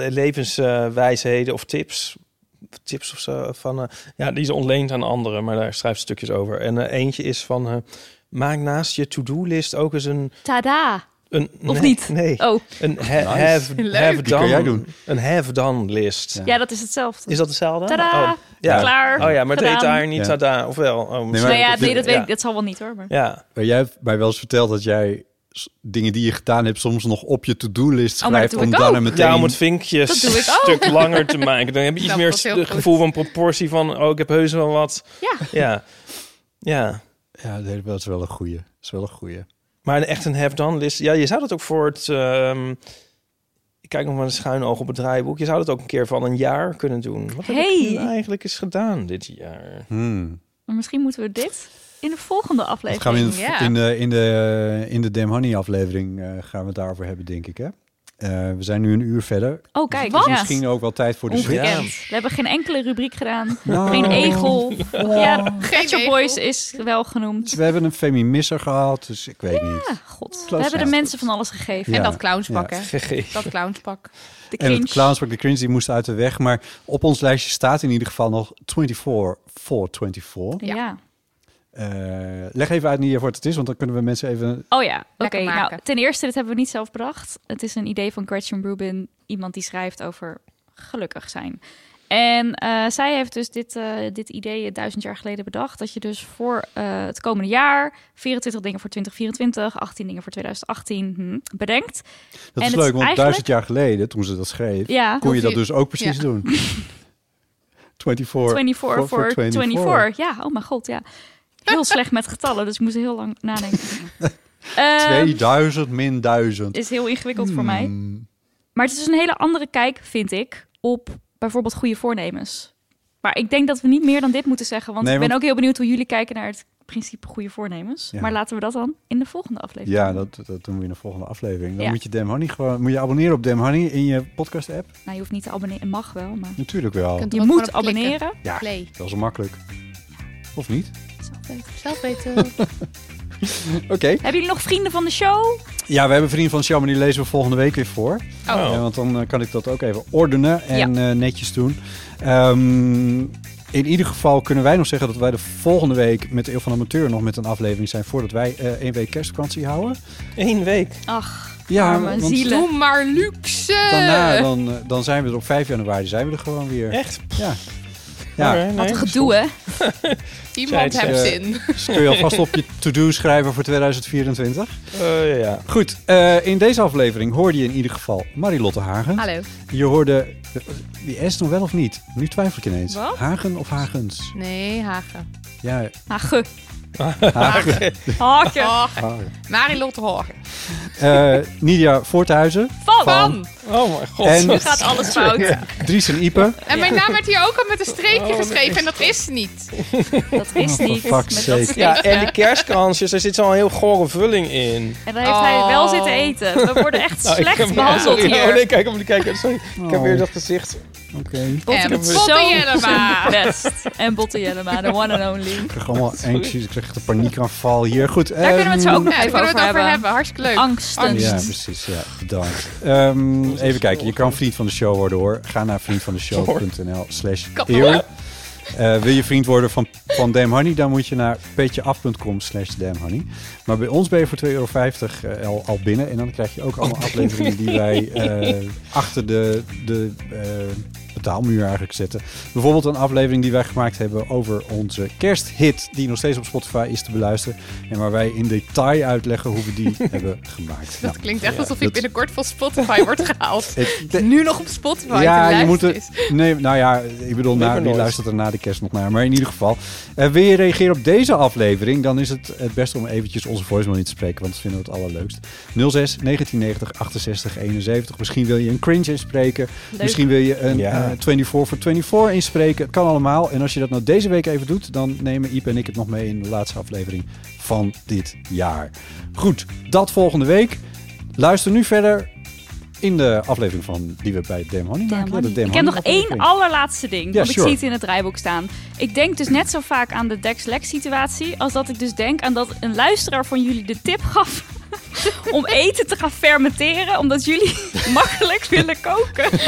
levenswijsheden of tips, tips of zo, van, eh, ja, die ze ontleent aan anderen, maar daar schrijft ze stukjes over. En eh, eentje is van, eh, maak naast je to-do-list ook eens een...
Tada.
een
Of
nee,
niet?
Nee,
Oh,
een ha- have,
Leuk.
have
Die kun
done,
jij doen.
een have done list.
Ja.
ja, dat is hetzelfde.
Is dat hetzelfde?
Tada.
Oh, ja.
Klaar.
Oh ja, maar het heet
Gedaan.
daar niet
Ja.
tada, of wel? Oh, misschien-
Nou ja, nee, dat weet
Ja.
ik. Dat zal wel niet hoor. Maar...
Ja,
Maar jij hebt mij wel eens verteld dat jij s- dingen die je gedaan hebt soms nog op je to-do-list
Oh, maar dat
schrijft.
doe
om
ik
dan
ook.
en meteen...
ja om het vinkje
Dat doe ik
een stuk langer te maken. Dan heb je iets
Dat
meer
was heel
het
goed.
gevoel van proportie van... oh, ik heb heus wel wat.
Ja.
Ja, ja.
Ja, nee, dat is wel een goeie. Dat is wel een goeie.
maar echt een have-done list. Ja, je zou dat ook voor het... ehm, ik kijk nog maar een schuin oog op het draaiboek. Je zou dat ook een keer van een jaar kunnen doen. Wat heb ik
Hey.
nu eigenlijk eens gedaan dit jaar?
Hmm.
Maar misschien moeten we dit in de volgende
Dat
aflevering.
gaan we in, de-
Ja.
in de, in de, in de Damn Honey aflevering eh, gaan we het daarover hebben, denk ik. Hè? Eh, we zijn nu een uur verder.
Oh, kijk.
Dus
ja.
misschien ook wel tijd voor de
Ongekend.
Ja.
We hebben geen enkele rubriek gedaan.
Nou.
Geen egel. Ja,
Geen
Pet Shop Boys is wel genoemd.
Dus We hebben een femimisser gehad, dus ik weet
Ah,
niet.
god.
Close
We hebben de
enough.
mensen van alles gegeven.
Ja.
En dat clownspak,
Ja.
hè?
Gegeven.
Dat clownspak.
De
En het
cringe.
clownspak, de cringe, die moest uit de weg. Maar op ons lijstje staat in ieder geval nog 24 voor 24.
Ja.
Eh, leg even uit niet wat het is, want dan kunnen we mensen even...
Oh ja, oké.
Lekker maken.
Nou, ten eerste, dit hebben we niet zelf bedacht. Het is een idee van Gretchen Rubin. Iemand die schrijft over gelukkig zijn. En eh, zij heeft dus dit, eh, dit idee duizend jaar geleden bedacht. Dat je dus voor eh, het komende jaar 24 dingen voor 2024, 18 dingen voor 2018 hm, bedenkt.
Dat
En
is leuk,
het
want
is eigenlijk-
duizend jaar geleden, toen ze dat schreef,
Ja.
kon je dat
Hoef je-
dus ook precies
Ja.
[laughs]
doen. 24
24 voor 24. Ja, oh mijn god, ja. Heel slecht met getallen, dus ik moest heel lang nadenken. [laughs] Ehm,
2000 min Hmm. 1000.
is heel ingewikkeld voor mij. Maar het is een hele andere kijk, vind ik, op bijvoorbeeld goede voornemens. Maar ik denk dat we niet meer dan dit moeten zeggen, want
Nee,
ik ben
want-
ook heel benieuwd hoe jullie kijken naar het principe goede voornemens.
Ja.
Maar laten we dat dan in de volgende aflevering.
Ja,
doen.
dat, dat doen we in de volgende aflevering. Dan
Ja.
moet je Dem Honey gewoon moet je abonneren op Dem Honey in je podcast app.
Nou, je hoeft niet te abonneren, mag wel, maar
Natuurlijk wel.
kunt er
je
ook
moet
gewoon op klikken.
abonneren.
Ja,
Play.
dat is makkelijk. Of niet?
Zelf weten.
Oké.
Hebben jullie nog vrienden van de show?
Ja, we hebben vrienden van de show, maar die lezen we volgende week weer voor.
Oh.
Ja, want dan eh, kan ik dat ook even ordenen en eh, netjes doen. Ehm, in ieder geval kunnen wij nog zeggen dat wij de volgende week met de Eeuw van de Amateur nog met een aflevering zijn voordat wij eh, één week kerstvakantie houden.
Eén week.
Ach,
Ja,
arme
want
zielen.
Doe maar luxe.
daarna dan, eh, dan zijn we er op 5 januari zijn we er gewoon weer.
Echt?
Ja. Ja,
Oké,
Wat
nee.
een gedoe, hè?
[laughs] Iemand
Zij-
heeft
zij-
zin.
dus kun je alvast op je to-do schrijven voor 2024.
Eh, ja.
Goed, eh, in deze aflevering hoorde je in ieder geval Marilotte Hagen.
Hallo.
Je hoorde, eh, die S nog wel of niet? Nu twijfel ik ineens.
Wat?
Hagen of Hagens?
Nee, Hagen.
Ja,
Ah, ge.
Hagen.
Haken.
Hagen. Marilotte Hagen.
Eh, Nidia Voorthuizen.
Van.
Van.
Oh mijn god.
En-
Nu gaat alles fout.
Dries en Ipe.
En mijn naam werd hier ook al met een streepje geschreven en dat is niet.
Dat is niet.
Oh, fuck's
Met
sake.
dat
ja,
streepje.
en die kerstkransjes, daar zit zo'n heel gore vulling in.
En dan heeft hij wel zitten eten. We worden echt
Nou, ik
slecht
heb-
behandeld
sorry.
hier.
Oh nee, kijk om die kijker. Sorry, ik heb weer dat gezicht.
[laughs] Oké.
Botte
En
doet
Botte
zo
Jellema.
zijn best. En Botte Jellema, de one and only.
Ik krijg allemaal anxious. Ik krijg echt een paniekaanval hier. Goed. ehm,
Daar kunnen we het zo ook nog
Ja, daar
even
kunnen we
over,
het over hebben.
hebben.
Hartstikke leuk.
Angsten.
Ja, precies. Ja, bedankt. Ehm, even kijken. Je kan vriend van de show worden hoor. Ga naar vriendvandeshow.nl slash eeuw. Eh, wil je vriend worden van, van Damn Honey? Dan moet je naar petjeaf.com slash damnhoney. Maar bij ons ben je voor 2,50 euro eh, al, al binnen. En dan krijg je ook
Oh.
allemaal afleveringen die
[laughs]
wij eh, achter de, de eh, betaalmuur eigenlijk zetten. Bijvoorbeeld een aflevering die wij gemaakt hebben over onze kersthit. Die nog steeds op Spotify is te beluisteren. En waar wij in detail uitleggen hoe we
[laughs]
die hebben gemaakt.
Dat
Nou,
klinkt echt alsof ik
dat-
binnenkort van Spotify word
[laughs]
gehaald.
het-
Nu nog op Spotify
ja,
te
je moet
luisteren
het.
is.
Nee, nou ja, ik bedoel,
Never
na, wie
nooit.
luistert er na de kerst nog naar? Maar in ieder geval, eh, wil je reageren op deze aflevering? Dan is het het beste om eventjes onze voicemail in te spreken, want dat vinden we het allerleukst. 06 1990 68 71. Misschien wil je een cringe inspreken.
Leuk.
Misschien wil je een
Ja.
eh, 24 voor 24 inspreken. Het kan allemaal. En als je dat nou deze week even doet, dan nemen Iep en ik het nog mee in de laatste aflevering van dit jaar. Goed, dat volgende week. Luister nu verder in de aflevering van die we bij Dem Honey
Damn
maken. Ja, de
honey.
Damn
ik heb nog
Honey
één
aflevering.
allerlaatste ding. want
sure.
ik zie het in het rijboek staan. Ik denk dus net zo vaak aan de Dex Lex situatie. als dat ik dus denk aan dat een luisteraar van jullie de tip gaf. [laughs] om eten te gaan fermenteren. omdat jullie [laughs] makkelijk willen koken.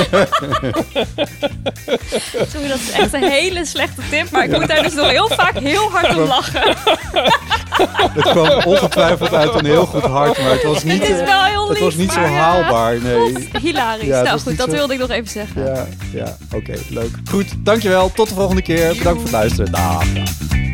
[laughs] Sorry, dat is echt een hele slechte tip. maar ik moet daar dus nog heel vaak heel hard om lachen.
Het kwam ongetwijfeld uit een heel goed hart, maar het was niet,
[laughs] Het is
eh,
wel heel lief.
het was niet zo
maar, eh,
haalbaar. Nee.
Hilarisch.
Ja, het
nou
was
goed,
niet
dat
zo-
wilde ik nog even zeggen.
Ja, ja oké, leuk. Goed, dankjewel. Tot de volgende keer. Bedankt voor het luisteren. Dag.